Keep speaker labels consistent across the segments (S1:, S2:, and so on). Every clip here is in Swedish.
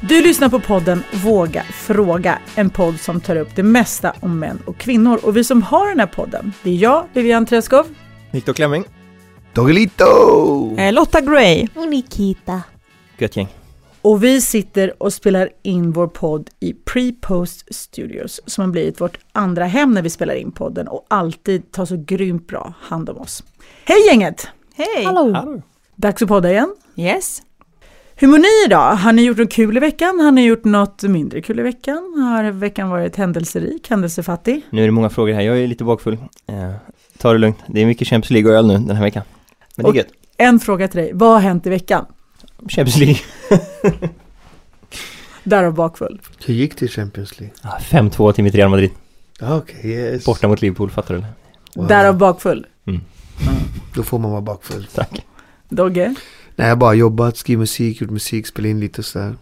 S1: Du lyssnar på podden Våga fråga, en podd som tar upp det mesta om män och kvinnor. Och vi som har den här podden, det är jag, Vivian Träskov.
S2: Viktor Klemming.
S3: Doggelito!
S4: Eh, Lotta Gray.
S5: Och Nikita.
S2: Gött gäng.
S1: Och vi sitter och spelar in vår podd i Pre-Post Studios som har blivit vårt andra hem när vi spelar in podden och alltid tar så grymt bra hand om oss. Hej gänget!
S4: Hej!
S2: Hallå.
S1: Dags att podda igen.
S4: Yes.
S1: Hur mår ni idag? Har ni gjort något kul i veckan? Har ni gjort något mindre kul i veckan? Har veckan varit händelserik, händelsefattig?
S2: Nu är det många frågor här, jag är lite bakfull. Eh, ta det lugnt, det är mycket Champions League och öl nu den här veckan. Men det är
S1: Och-
S2: gött.
S1: En fråga till dig, vad har hänt i veckan?
S2: Champions League.
S1: Därav bakfull.
S3: Hur gick det i Champions League?
S2: Ah, 5-2 till mitt Real Madrid,
S3: Ah, Okej, yes.
S2: borta mot Liverpool, fattar du? eller?
S3: Wow.
S1: Därav bakfull.
S3: Då får man vara bakfull.
S2: Tack.
S1: Dogge?
S3: Nej, jag har bara jobbat, skrivit musik, gjort musik, spelat in lite och sådär.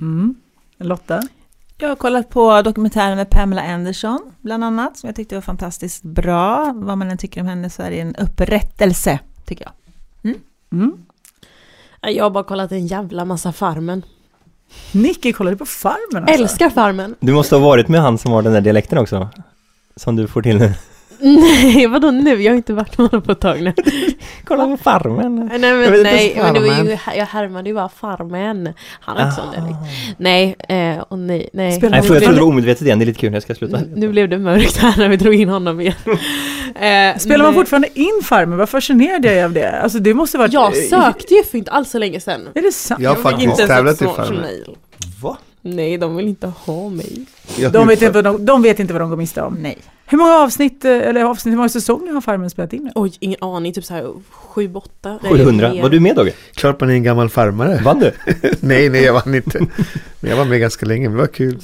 S1: Mm. Lotta?
S4: Jag har kollat på dokumentären med Pamela Anderson, bland annat, som jag tyckte var fantastiskt bra. Vad man än tycker om henne så är det en upprättelse, tycker jag.
S1: Mm.
S5: Jag har bara kollat en jävla massa Farmen.
S1: Nicky kollade på Farmen alltså.
S5: Älskar Farmen.
S2: Du måste ha varit med han som har den där dialekten också, som du får till nu.
S5: Nej, vadå nu? Jag har inte varit med honom på ett tag nu.
S2: Kolla på Farmen.
S5: Nej, men,
S2: vet inte
S5: nej,
S2: ens
S5: men det var ju,
S2: Farmen. Ah.
S5: jag härmade ju bara Farmen. Han har inte sån dialekt. Nej, eh, och nej, nej.
S1: Spelar han
S2: Nej, jag tror- jag
S1: fortfarande-
S2: trodde det var omedvetet igen, det är lite kul, jag ska sluta.
S5: Nu blev det mörkt här när vi drog in honom igen. Eh,
S1: Spelar man
S5: nej.
S1: fortfarande in Farmen? Vad fascinerad jag är av det. Alltså det måste varit...
S5: Jag sökte ju för inte alls så länge sedan.
S1: Är det sant?
S3: Jag har
S5: fick
S3: faktiskt
S5: inte ens ett
S3: tävlat i
S5: svar från
S3: Farmen.
S5: Nail.
S2: Va?
S5: Nej, de vill inte ha mig.
S3: Jag har
S1: De vet,
S3: gjort-
S1: inte vad de, de vet inte vad de går miste om.
S4: Nej.
S1: Hur många avsnitt, eh, eller avsnitt, hur många säsonger har Farmen spelat in nu?
S5: Oj, ingen aning. Typ såhär 7-8.
S2: 700, var du med Dogge?
S3: Klart man är en gammal farmare.
S2: Vann du?
S3: nej, nej, jag vann inte. Men jag var med ganska länge, men det var kul.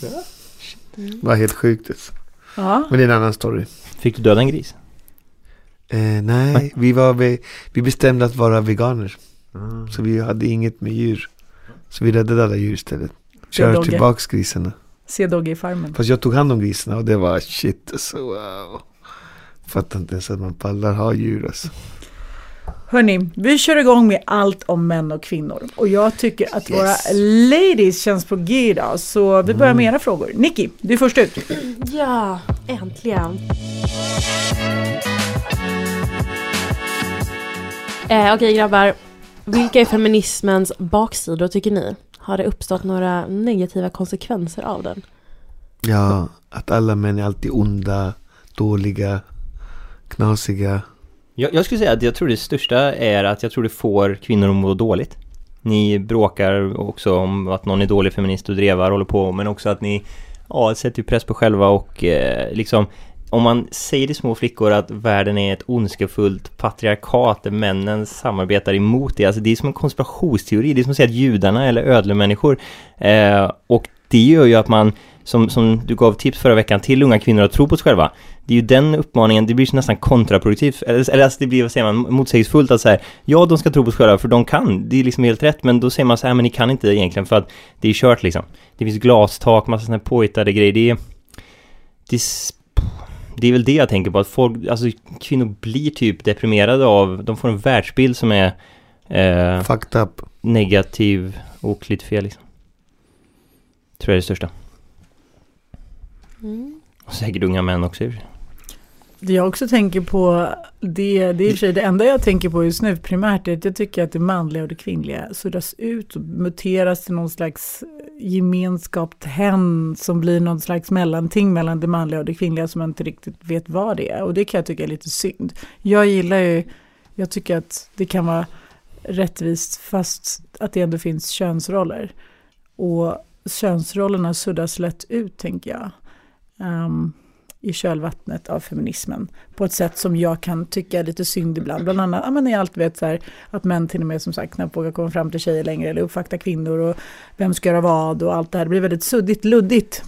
S3: Det var helt sjukt. alltså.
S1: Ja.
S3: Men det är en annan story.
S2: Fick du döda en gris?
S3: Eh, nej, vi, var ve- vi bestämde att vara veganer. Så vi hade inget med djur. Så vi räddade alla djur istället. Kör
S1: Dogge.
S3: tillbaks grisarna.
S1: Se Dogge i Farmen.
S3: Fast jag tog hand om grisarna och det var shit alltså, wow. Fattar inte ens att man pallar ha djur alltså.
S1: Hörni, vi kör igång med allt om män och kvinnor. Och jag tycker att
S3: Yes. Mm.
S1: våra ladies känns på G idag. Så vi börjar med era frågor. Nicky, du är först ut.
S5: Ja, äntligen. Eh, Okej grabbar, vilka är feminismens baksidor tycker ni? Har det uppstått några negativa konsekvenser av den?
S3: Ja, att alla män är alltid onda, dåliga, knasiga.
S2: Jag, jag skulle säga att jag tror det största är att jag tror det får kvinnor att må dåligt. Ni bråkar också om att någon är dålig feminist och drevar håller på men också att ni ja, sätter ju press på själva och eh, liksom om man säger till små flickor att världen är ett ondskefullt patriarkat där männen samarbetar emot det, alltså det är som en konspirationsteori, det är som att säga att judarna eller ödlemänniskor eh, och det gör ju att man, som, som du gav tips förra veckan till unga kvinnor att tro på sig själva, det är ju den uppmaningen, det blir så nästan kontraproduktivt, eller, eller alltså det blir, vad säger man, motsägelsefullt att så här, ja de ska tro på sig själva för de kan, det är liksom helt rätt, men då säger man så här, men ni kan inte egentligen för att det är kört liksom. Det finns glastak, massa sådana här påhittade grejer, det är, det är, s- det är väl det jag tänker på, att folk, alltså kvinnor blir typ deprimerade av, de får en världsbild som är eh,
S3: Fucked up.
S2: negativ och lite fel liksom. Tror jag är det största.
S5: Mm.
S2: Och säkert unga män också i och för sig.
S1: Det jag också tänker på, det, det är i och för sig det enda jag tänker på just nu primärt, är att jag tycker att det manliga och det kvinnliga suddas ut och muteras till någon slags gemenskap, hen som blir någon slags mellanting mellan det manliga och det kvinnliga som man inte riktigt vet vad det är. Och det kan jag tycka är lite synd. Jag gillar ju, jag tycker att det kan vara rättvist fast att det ändå finns könsroller. Och könsrollerna suddas lätt ut tänker jag. Ehm, i kölvattnet av feminismen på ett sätt som jag kan tycka är lite synd ibland. Bland annat ja, men när jag alltid vet så här, att män till och med som sagt knappt vågar komma fram till tjejer längre eller uppvakta kvinnor och vem ska göra vad och allt det här. Det blir väldigt suddigt, luddigt.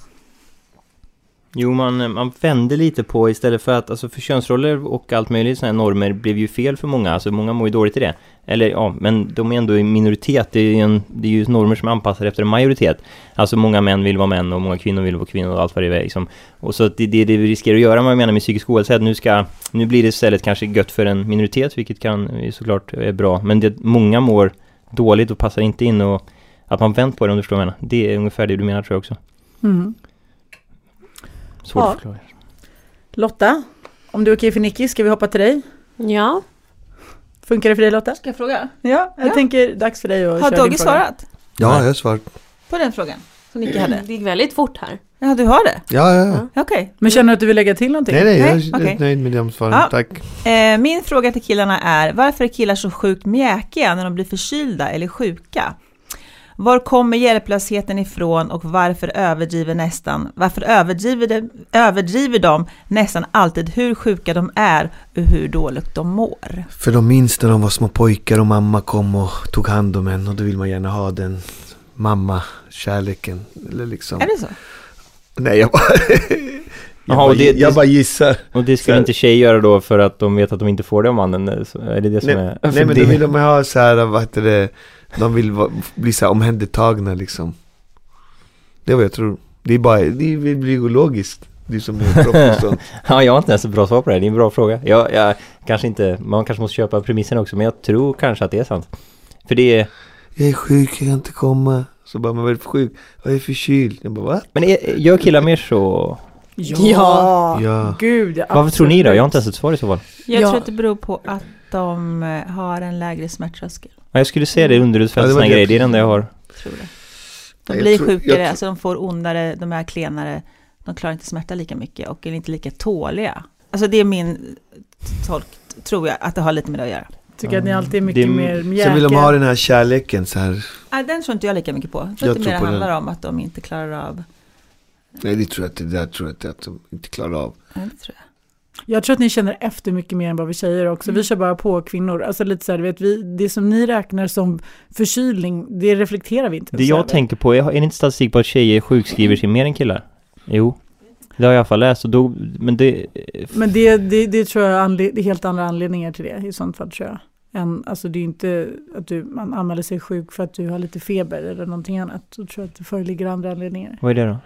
S2: Jo, man, man vände lite på istället för att, alltså för könsroller och allt möjligt sådana här normer blev ju fel för många, alltså många mår ju dåligt i det. Eller ja, men de är ändå i minoritet, det är ju, en, det är ju normer som är anpassade efter en majoritet. Alltså många män vill vara män och många kvinnor vill vara kvinnor och allt vad det är liksom. Och så att det, det, det vi riskerar att göra, vad jag menar med psykisk ohälsa, är att nu ska, nu blir det istället kanske gött för en eh, minoritet, vilket kan såklart är bra, men det, många mår dåligt och passar inte in och Att man vänt på det om du förstår vad jag menar. Det är ungefär det du menar tror jag också.
S1: Mm.
S2: Svårt
S1: Ja.
S2: att förklara.
S1: Lotta, om du är okej för Nicky ska vi hoppa till dig.
S5: Ja.
S1: Funkar det för dig Lotta?
S4: Ska jag fråga?
S1: Ja, jag
S4: Ja.
S1: tänker dags för dig att
S4: Har
S1: köra din
S4: Dogge
S1: fråga.
S4: svarat
S3: Ja,
S2: Nej.
S3: jag har svarat.
S4: på den frågan som Nicky hade?
S5: Det gick väldigt fort här.
S4: Ja, du har det?
S3: Ja, ja, ja.
S5: Ja.
S4: Okej.
S1: Men känner du att du vill lägga till någonting?
S3: Nej, nej, jag är
S4: Nej, okej.
S3: nöjd med de svaren.
S4: Ja.
S3: Tack.
S4: Eh, min fråga till killarna är, varför är killar så sjukt mjäkiga när de blir förkylda eller sjuka? Var kommer hjälplösheten ifrån och varför överdriver nästan, varför överdriver de, överdriver de nästan alltid hur sjuka de är och hur dåligt de mår?
S3: För de minns när de var små pojkar och mamma kom och tog hand om en och då vill man gärna ha den mamma kärleken eller liksom.
S4: Är det så?
S3: Nej, jag bara, jag,
S2: Jaha,
S3: bara,
S2: och det-
S3: jag
S2: det-
S3: bara gissar.
S2: Och det skulle
S3: Så-
S2: inte tjejer göra då för att de vet att de inte får det av mannen? eller så- Är det det som är? för
S3: Nej, men
S2: det...
S3: då vill de ha så här, vad heter det, de vill va, bli så här omhändertagna liksom. Det är vad jag tror. Det är bara, det är- det blir ju logiskt. Du som är proffs och sånt.
S2: Ja, jag har inte ens ett bra svar på det här. Det är en bra fråga. Jag, jag kanske inte, man kanske måste köpa premissen också, men jag tror kanske att det är sant. För det är,
S3: Jag är sjuk, jag kan inte komma. Så bara, men vad är du för sjuk? Jag är förkyld. Jag bara, va?
S2: men är, gör killar mer så?
S1: Ja.
S3: Ja.
S1: Gud,
S2: Varför tror ni då?
S1: absolut.
S2: Jag har inte ens ett svar i så fall.
S4: Jag
S5: Ja.
S4: tror att det beror på att de eh, har en lägre smärttröskel.
S2: Ja, jag skulle säga det,
S1: Mm.
S3: Ja, det
S2: underhudsfältet
S3: var
S2: ja,
S3: det.
S2: grejer, det är det enda jag har.
S4: Tror det.
S3: Nej,
S4: De
S3: jag
S4: blir
S3: tror- jag
S4: sjukare,
S3: tror-
S4: alltså de får ondare, de är klenare, de klarar inte smärta lika mycket och är inte lika tåliga. Alltså det är min tolk, tror jag, att det har lite med det att göra.
S1: Tycker att ni alltid är mycket
S2: Det är-
S1: mer mjäkiga.
S3: Sen vill de ha den här kärleken så här.
S4: Nej, den tror inte jag lika mycket på. Jag tror
S3: Jag
S4: att det
S3: tror
S4: mer
S3: på den.
S4: handlar om att de inte klarar av...
S3: Nej, det tror jag inte, det där tror jag inte att de inte klarar av.
S4: Ja, det tror jag.
S1: Jag tror att ni känner efter mycket mer än vad vi tjejer också. Vi kör bara på kvinnor. Alltså lite så här, du vet, vi, det som ni räknar som förkylning, det reflekterar vi inte.
S2: Det jag tänker på, är är det inte statistik på att tjejer sjukskriver sig mer än killar? Jo. Det har jag i alla fall läst och då, men det...
S1: Men det, det, det tror jag anled- det är helt andra anledningar till det i sånt fall tror jag. Än, alltså det är ju inte att du, man anmäler sig sjuk för att du har lite feber eller någonting annat. Då tror jag att det föreligger andra anledningar.
S2: Vad är det då?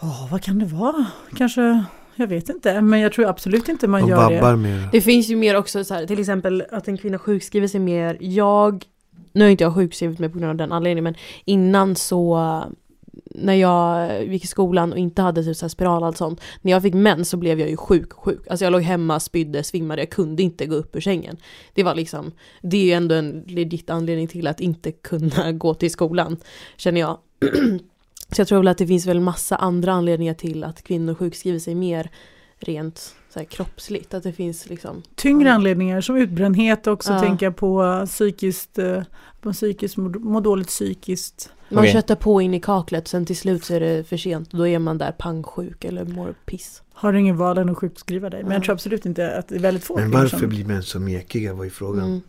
S1: Ja, vad kan det vara? Kanske, jag vet inte. Men jag tror absolut inte man
S3: De
S1: gör det.
S3: vabbar mer.
S5: Det finns ju mer också så här, till exempel att en kvinna sjukskriver sig mer. Jag, nu har inte jag sjukskrivit mig på grund av den anledningen, men innan så eh, när jag gick i skolan och inte hade typ så här spiral och allt sånt. När jag fick mens så blev jag ju sjuk, sjuk. Alltså jag låg hemma, spydde, svimmade, jag kunde inte gå upp ur sängen. Det var liksom, det är ju ändå en legit anledning till att inte kunna gå till skolan, känner jag. så jag tror väl att det finns väl massa andra anledningar till att kvinnor sjukskriver sig mer rent så här kroppsligt. Att det finns liksom
S1: tyngre anledningar som utbrändhet också
S5: Ja.
S1: tänker jag på eh, psykiskt, eh, att man psykiskt mår, mår dåligt psykiskt.
S5: Man
S2: Okej.
S5: köttar på in i kaklet, sen till slut så är det för sent. Då är man där pangsjuk eller mår piss.
S1: Har du ingen val än att sjukskriva dig? Men jag
S5: Ja.
S1: tror absolut inte att det är liksom. väldigt få.
S3: Men
S1: kvinnor
S3: varför
S1: som-
S3: blir män så mekiga var ju frågan.
S5: Mm.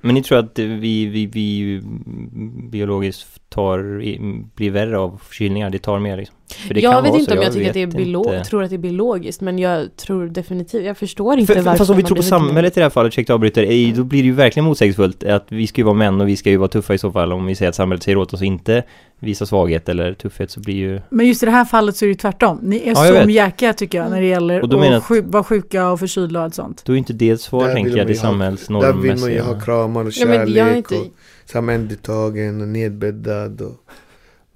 S2: Men ni tror att eh, vi, vi, vi mm, biologiskt tar, i- mm, blir värre av förkylningar? Det tar mer liksom? För det
S5: Jag
S2: kan
S5: vet
S2: vara
S5: inte
S2: så,
S5: om jag, tycker att det är
S2: vet
S5: biolo-
S2: inte.
S5: tror att det är biologiskt, men jag tror definitivt, jag förstår inte
S2: För, för,
S5: varför
S2: fast om vi
S5: man
S2: tror på
S5: blir förkyld.
S2: samhället i det här fallet, ursäkta jag avbryter, eh, då blir det ju verkligen motsägelsefullt att vi ska ju vara män och vi ska ju vara tuffa i så fall om vi säger att samhället säger åt oss att inte visa svaghet eller tuffhet så blir ju...
S1: Men just i det här fallet så är det ju tvärtom. Ni är
S2: Ja, jag
S1: så
S2: vet.
S1: mjäkiga tycker jag när
S5: Mm.
S1: det gäller
S2: Och då menar jag
S1: att sju- vara sjuka och förkylda och allt sånt.
S2: Då är ju inte det ett svar
S3: Där
S2: tänker
S3: vill
S2: jag,
S3: man
S2: det
S3: ju ha-
S2: samhällsnormmässiga.
S3: Där vill man ju ha kramar och
S5: Ja, men jag är
S3: kärlek
S5: inte...
S3: och samhällsdeltagen och nedbäddad och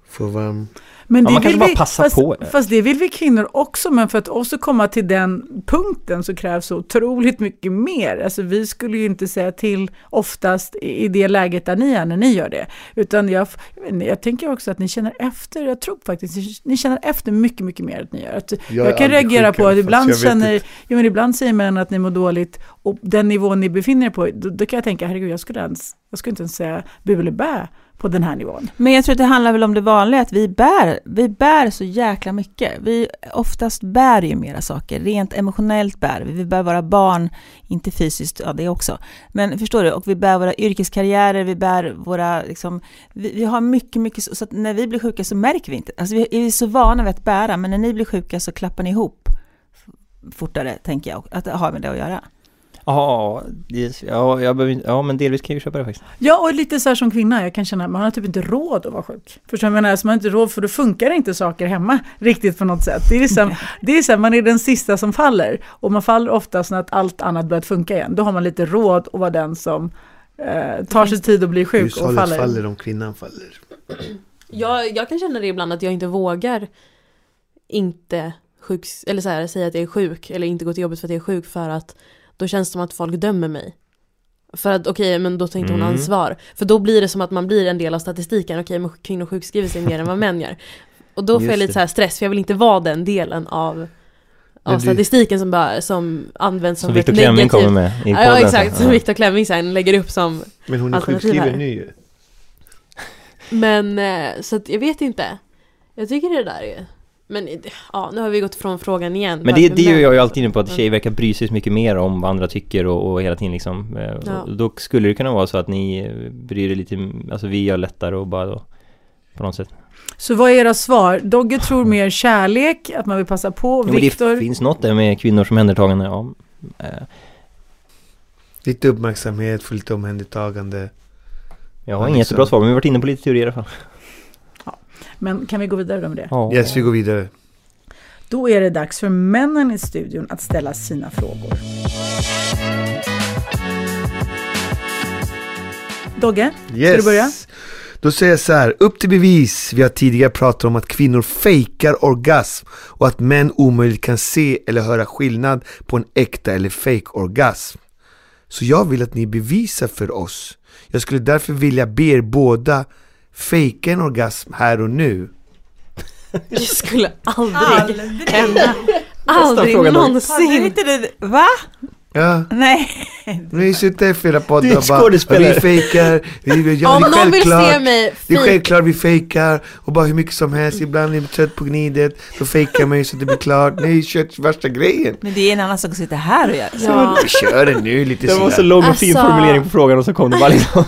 S3: få varm.
S1: Men
S2: Ja, man kanske
S1: vill
S2: bara
S1: vi,
S2: passar
S1: fast,
S2: på.
S1: Fast det vill vi kvinnor också, men för att också komma till den punkten så krävs så otroligt mycket mer. Alltså vi skulle ju inte säga till oftast i i det läget där ni är när ni gör det. Utan jag, jag, vet inte, jag tänker också att ni känner efter, jag tror faktiskt ni- ni känner efter mycket, mycket mer att ni gör. Att
S3: är
S1: jag, kan
S3: aldrig
S1: reagera på
S3: sjukare,
S1: att ibland,
S3: fast jag vet
S1: känner,
S3: inte.
S1: jo, men ibland säger män att ni mår dåligt och den nivån ni befinner er på, då, då kan jag tänka, herregud, jag skulle, ens, jag skulle inte ens säga bu eller bä på den här nivån.
S4: Men jag tror att det handlar väl om det vanliga, att vi bär, vi bär så jäkla mycket. Vi oftast bär ju mera saker, rent emotionellt bär vi. Vi bär våra barn, inte fysiskt, ja det också. Men förstår du, och vi bär våra yrkeskarriärer, vi bär våra, liksom, vi, vi har mycket, mycket, så så att när vi blir sjuka så märker vi inte. Alltså vi är så vana vid att bära, men när ni blir sjuka så klappar ni ihop fortare, tänker jag, att det har med det att göra.
S2: Ja, det- ja, jag behöver, inte- ja, men delvis kan jag ju köpa det faktiskt.
S1: Ja, och lite så här som kvinna, jag kan känna att man har typ inte råd att vara sjuk. Förstår du vad jag menar? Alltså, man har inte råd för då funkar inte saker hemma riktigt på något sätt. Det är, liksom, det är så här, man är den sista som faller och man faller oftast när att allt annat börjat funka igen. Då har man lite råd att vara den som eh, tar sig tid att bli sjuk och
S3: Hushållet
S1: faller.
S3: faller om kvinnan faller.
S5: Jag, jag kan känna det ibland att jag inte vågar inte sjuks, eller så här, säga att jag är sjuk eller inte gå till jobbet för att jag är sjuk för att då känns det som att folk dömer mig. För att okej, men då tar inte hon
S2: Mm.
S5: ansvar. För då blir det som att man blir en del av statistiken. Okej, men kvinnor sjukskriver sig mer än vad män gör. Och då får
S2: Just
S5: jag lite
S2: det.
S5: så här stress för jag vill inte vara den delen av, av
S3: Men du-
S5: statistiken som, bara, som används som,
S2: Som
S5: ett
S2: Viktor Klemming
S5: negativt.
S2: kommer med i podden.
S5: Ja,
S2: sen.
S5: exakt. Som Viktor Klemming sen lägger upp som
S3: Men hon är
S1: Alltså,
S5: Alternativ här.
S3: sjukskriven nu ju.
S5: Men eh, så att jag vet inte. Jag tycker det där är... Men eh, ja, nu har vi gått från frågan igen.
S2: Men det,
S5: Varför
S2: det är ju
S5: män?
S2: jag ju alltid inne på att tjejer verkar bry sig så mycket mer om vad andra tycker och, och hela tiden liksom. eh, och
S5: Ja.
S2: Då skulle det kunna vara så att ni eh, bryr er lite, alltså vi gör lättare och bara då på något sätt.
S1: Så vad är era svar? Dogge tror mer kärlek, att man vill passa på.
S2: Jo, men det
S1: Viktor,
S2: finns något där med kvinnors omhändertagande, ja. Eh,
S3: Lite uppmärksamhet, få lite omhändertagande.
S2: Jag har
S3: Ja,
S2: inget
S3: liksom.
S2: jättebra svar, men vi har varit inne på lite teorier i alla fall.
S1: men kan vi gå vidare då med det?
S2: Ja.
S3: Yes, vi går vidare.
S1: Då är det dags för männen i studion att ställa sina frågor. Dogge,
S3: Yes.
S1: du börja?
S3: Då säger jag så här, upp till bevis. Vi har tidigare pratat om att kvinnor fejkar orgasm och att män omöjligt kan se eller höra skillnad på en äkta eller fake orgasm. Så jag vill att ni bevisar för oss. Jag skulle därför vilja be er båda fejka en orgasm här och nu.
S5: Det skulle aldrig
S4: Aldrig!
S5: hända. aldrig
S2: frågan då.
S4: Hade
S5: någonsin.
S4: inte du... Va?
S3: Ja,
S4: Nej.
S3: ni sitter i flera poddar
S2: Du är
S3: och bara,
S2: skådespelare."
S3: vi fejkar, vi, ja, det
S5: Om
S3: är
S5: någon vill
S3: självklart."
S5: se mig
S3: Det är
S5: fejk,
S3: självklart vi fejkar och bara hur mycket som helst, ibland är jag trött på gnidet, då fejkar man ju så att det blir klart. Nej, kört värsta grejen.
S4: Men det är en annan sak att sitta här och göra.
S5: ja.
S3: Vi kör det nu lite
S2: Det var
S3: sådär.
S2: så lång och fin
S5: Alltså.
S2: formulering på frågan och så kom det bara liksom.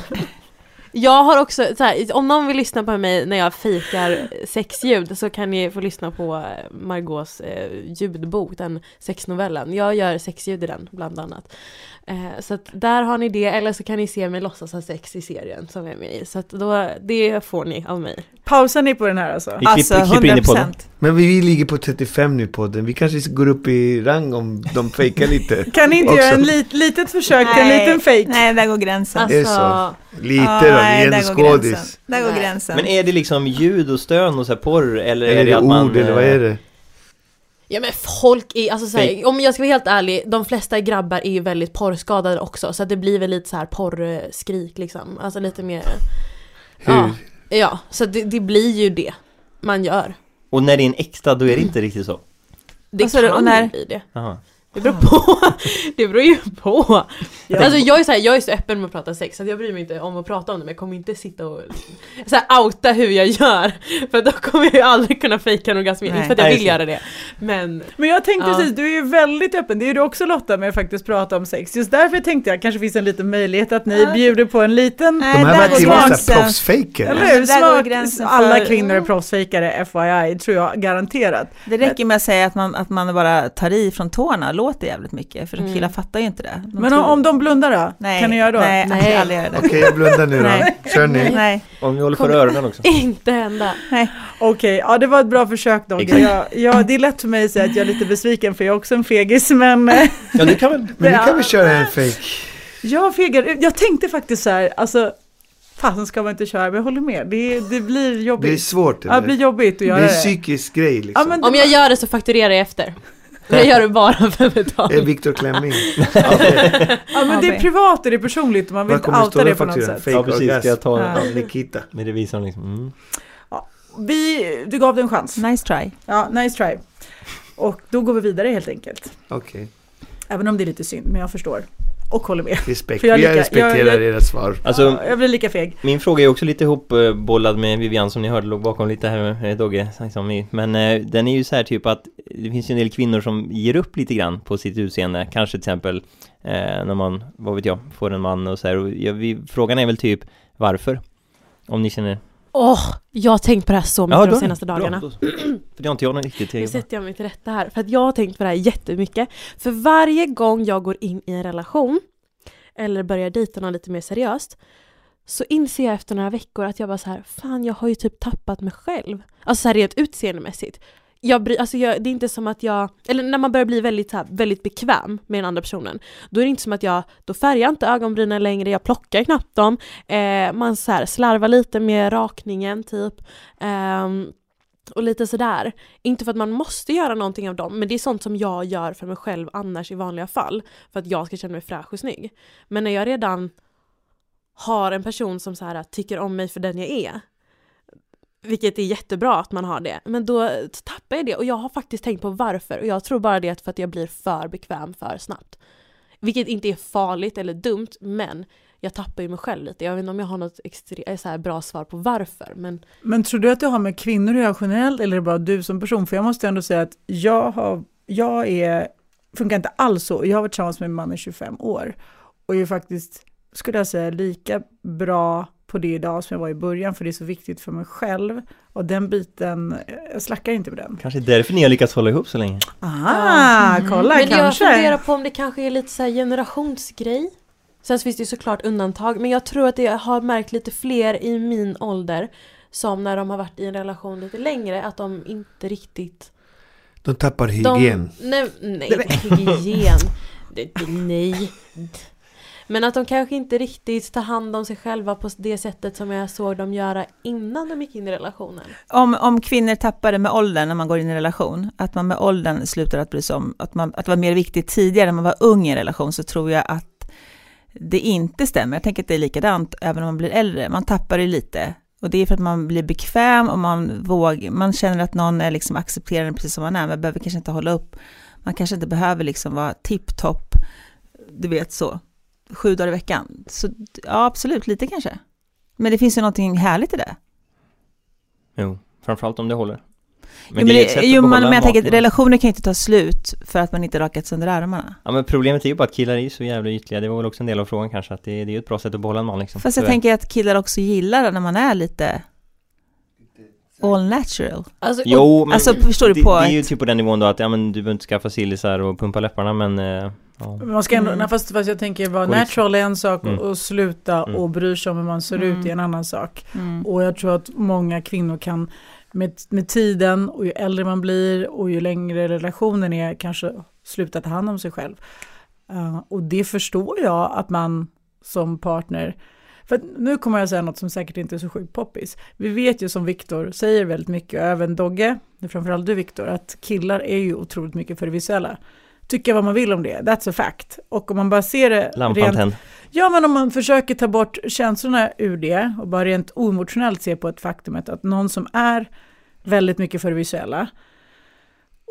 S5: Jag har också, så här, om någon vill lyssna på mig när jag fejkar sexljud så kan ni få lyssna på eh, Margaux eh, ljudbok, den sexnovellen. Jag gör sexljud i den bland annat. Eh, så att där har ni det, eller så kan ni se mig låtsas ha sex i serien som jag är med i. Så att då, det får ni av mig.
S1: pausar ni på den här alltså?
S2: Vi
S4: Alltså,
S2: klipper- klipper in i
S4: 100
S2: podden.
S4: procent.
S3: Men vi ligger på 35 nu på den. vi kanske går upp i rang om de fejkar lite.
S1: Kan ni inte
S3: Också.
S1: göra en lit, litet försök till en
S4: Nej.
S1: liten fejk?
S4: Nej, där går gränsen.
S5: Alltså,
S3: det så? Lite då, vi
S4: nej,
S3: är
S4: där
S3: en
S4: går
S3: skådis.
S4: gränsen. Där går
S5: Nej.
S4: gränsen.
S2: Men är det liksom ljud och stön och så här porr eller,
S3: Eller är det
S2: att
S3: ord
S2: man... eh,
S3: eller vad är det?
S5: Ja men folk är, alltså så
S2: Fake.
S5: här, om jag ska vara helt ärlig, de flesta grabbar är ju väldigt porrskadade också så att det blir väl lite så här porrskrik liksom, alltså lite mer
S3: Hur?
S5: Ja, ja så att det, det blir ju det man gör.
S2: eh, Och när det är en äkta då är det inte riktigt så.
S5: Det
S4: Vad sa du, och
S5: kan
S4: när-
S5: ju bli det.
S2: Jaha.
S5: Det beror på, det beror ju på.
S1: Ja.
S5: Alltså jag är så, här, jag är så öppen med att prata sex så att jag bryr mig inte om att prata om det men jag kommer inte sitta och så här, outa hur jag gör för då kommer jag ju aldrig kunna fejka en orgasm,
S4: Nej.
S5: inte för att jag
S2: Nej,
S5: vill
S2: just
S5: göra det. Men
S1: Men jag tänkte
S5: Ja.
S1: precis, du är ju väldigt öppen, det är ju du också Lotta med att faktiskt prata om sex. Just därför tänkte jag kanske finns en liten möjlighet att ni
S4: Ja.
S1: bjuder på en liten,
S4: Nej,
S3: De här
S1: var
S4: där går
S3: verkar ju vara
S1: gränsen.
S3: såhär
S4: gränsen.
S3: proffsfejkare.
S1: eller hur?
S4: Där går
S1: Smart,
S4: gränsen
S1: alla
S4: för-
S1: kvinnor är proffsfejkare, FYI, tror jag garanterat.
S4: Det räcker med att säga att man, att man bara tar i från tårna och låter jävligt mycket, för
S5: Mm.
S4: killar fattar ju inte det. De
S1: Men
S4: tror-
S1: om, om de blundar då?
S4: nej,
S1: kan ni göra då?
S4: Nej, nej.
S5: Nej.
S4: aldrig, aldrig göra det.
S3: Okej, jag blundar nu
S4: Nej.
S3: då. Kör ni.
S4: Nej.
S2: Om vi håller för öronen också.
S5: inte hända.
S1: Okej, ja det var ett bra försök då.
S2: Exakt.
S1: Jag, jag, det är lätt för mig att säga att jag är lite besviken för jag är också en fegis men eh,
S2: Ja, det kan väl...
S3: Men nu
S1: Ja.
S3: kan vi köra en fejk.
S1: jag fegar ut. Jag tänkte faktiskt så här, alltså fasen ska man inte köra men jag håller med. Det, det blir
S3: Det är
S1: jobbigt.
S3: svårt
S1: ja, det blir
S3: eller?
S1: jobbigt att
S3: Det
S1: göra
S3: är en
S1: det.
S3: psykisk grej
S1: Ja,
S3: liksom.
S1: men
S5: Om jag gör det så fakturerar jag efter. Jag gör det bara för
S3: Är
S5: betalning.
S3: Viktor Klemming.
S1: ja, men det är privat och det är personligt och man vill
S3: Vad
S1: inte
S3: kommer det stå
S1: outa
S3: i
S1: det
S3: den
S1: på något
S3: fakturan?
S1: sätt.
S3: Fake
S2: Ja, precis. Ska
S3: orgasm
S2: jag ta
S4: Ja.
S2: den?
S3: av Nikita.
S2: Med revisorn liksom. Mm.
S1: Vi, du gav det en chans.
S4: Nice try.
S1: Ja, nice try. Och då går vi vidare helt enkelt.
S3: Okej,
S1: Även om det är lite synd, men jag förstår. Och håller med.
S3: respekt.
S1: För jag
S3: Jag
S1: lika-
S3: respekterar
S1: jag- jag-
S3: era svar.
S2: Alltså,
S1: Ja, jag blir lika feg.
S2: Min fråga är också lite ihopbollad med Vivian som ni hörde låg bakom lite här med Dogge. liksom i- Men eh, den är ju så här typ att det finns ju en del kvinnor som ger upp lite grann på sitt utseende. Kanske till exempel eh, när man, vad vet jag, får en man och så här. Och jag, vi, frågan är väl typ varför? Om ni känner...
S5: Åh, jag har tänkt på det här så mycket
S2: Ja,
S5: de
S2: då-
S5: senaste dagarna.
S2: Bra, då, för det har inte jag något riktigt
S5: Nu
S2: eget
S5: sätter jag mig till rätta här, för att jag har tänkt på det här jättemycket. För varje gång jag går in i en relation, eller börjar dejta någon lite mer seriöst, så inser jag efter några veckor att jag bara så här, fan jag har ju typ tappat mig själv. Alltså så här rent utseendemässigt. jag, bry- alltså jag, det är inte som att jag, eller när man börjar bli väldigt, så här, väldigt bekväm med den andra personen, då är det inte som att jag, då färgar jag inte ögonbrynen längre, jag plockar knappt dem, eh, man så här, slarvar lite med rakningen typ. Ehm, och lite sådär. Inte för att man måste göra någonting av dem, men det är sånt som jag gör för mig själv annars i vanliga fall. För att jag ska känna mig fräsch och snygg. Men när jag redan har en person som så här, tycker om mig för den jag är, vilket är jättebra att man har det, men då tappar jag det. Och jag har faktiskt tänkt på varför. Och jag tror bara det är för att jag blir för bekväm för snabbt. Vilket inte är farligt eller dumt, men jag tappar ju mig själv lite. Jag vet inte om jag har något extre- eh, så här bra svar på varför, men
S1: Men tror du att det har med kvinnor att göra generellt eller är det bara du som person? För jag måste ändå säga att jag, har, jag är, funkar inte alls så. Jag har varit tillsammans med en man i 25 år och är faktiskt, skulle jag säga, lika bra på det idag som jag var i början för det är så viktigt för mig själv. Och den biten, jag slackar inte på den.
S2: Kanske därför ni har lyckats hålla ihop så länge.
S1: Ah, kolla
S5: Men
S1: kanske.
S5: jag funderar på om det kanske är lite så här generationsgrej. Sen så finns det ju såklart undantag, men jag tror att jag har märkt lite fler i min ålder som när de har varit i en relation lite längre, att de inte riktigt...
S3: De tappar
S5: De,
S3: hygien.
S5: Nej, nej inte hygien. Det, det, nej. Men att de kanske inte riktigt tar hand om sig själva på det sättet som jag såg dem göra innan de gick in i relationen.
S4: Om, om kvinnor tappar det med åldern när man går in i en relation, att man med åldern slutar att bry sig om, att, man, att det var mer viktigt tidigare när man var ung i en relation, så tror jag att det inte stämmer. Jag tänker att det är likadant även om man blir äldre, man tappar det lite. Och det är för att man blir bekväm och man våg, man känner att någon är liksom accepterande precis som man är, man behöver kanske inte hålla upp, man kanske inte behöver liksom vara tipptopp, du vet så, sju dagar i veckan. Så ja, absolut, lite kanske. Men det finns ju någonting härligt i det.
S2: Jo, framförallt om det håller.
S4: Men jo, men,
S2: är
S4: det,
S2: ett sätt att
S4: jo, men,
S2: behålla
S4: men jag
S2: en
S4: tänker att
S2: vaken-
S4: relationer kan ju inte ta slut för att man inte rakat sönder armarna.
S2: Ja men problemet är ju bara att killar är ju så jävla ytliga, det var väl också en del av frågan kanske, att det, det är ju ett bra sätt att behålla en man liksom.
S4: Fast jag
S2: Tyvärr.
S4: tänker att killar också gillar det när man är lite all natural.
S5: Alltså, och
S2: Jo, men
S4: alltså, förstår du
S2: det,
S4: på
S2: det är ju
S4: ett-
S2: typ på den nivån då att, ja men du behöver inte skaffa sillisar och pumpa läpparna men, eh, ja.
S1: Men Man ska ändå,
S4: Mm.
S1: nej, fast, fast jag tänker vara
S2: Och liksom-
S1: natural är en sak
S2: Mm.
S1: och, och sluta
S2: Mm.
S1: och bry sig om hur man ser ut
S4: Mm.
S1: är en annan sak.
S4: Mm.
S1: Och jag tror att många kvinnor kan med, med tiden och ju äldre man blir och ju längre relationen är kanske sluta ta hand om sig själv. Eh, och det förstår jag att man som partner för att nu kommer jag säga något som säkert inte är så sjukt poppis. Vi vet ju som Viktor säger väldigt mycket, och även Dogge, men framförallt du Viktor, att killar är ju otroligt mycket för det visuella. Tycka vad man vill om det, that's a fact. Och om man bara ser det
S2: Lampan
S1: rent
S2: tänd.
S1: Ja, men om man försöker ta bort känslorna ur det och bara rent oemotionellt se på ett faktumet att någon som är väldigt mycket för det visuella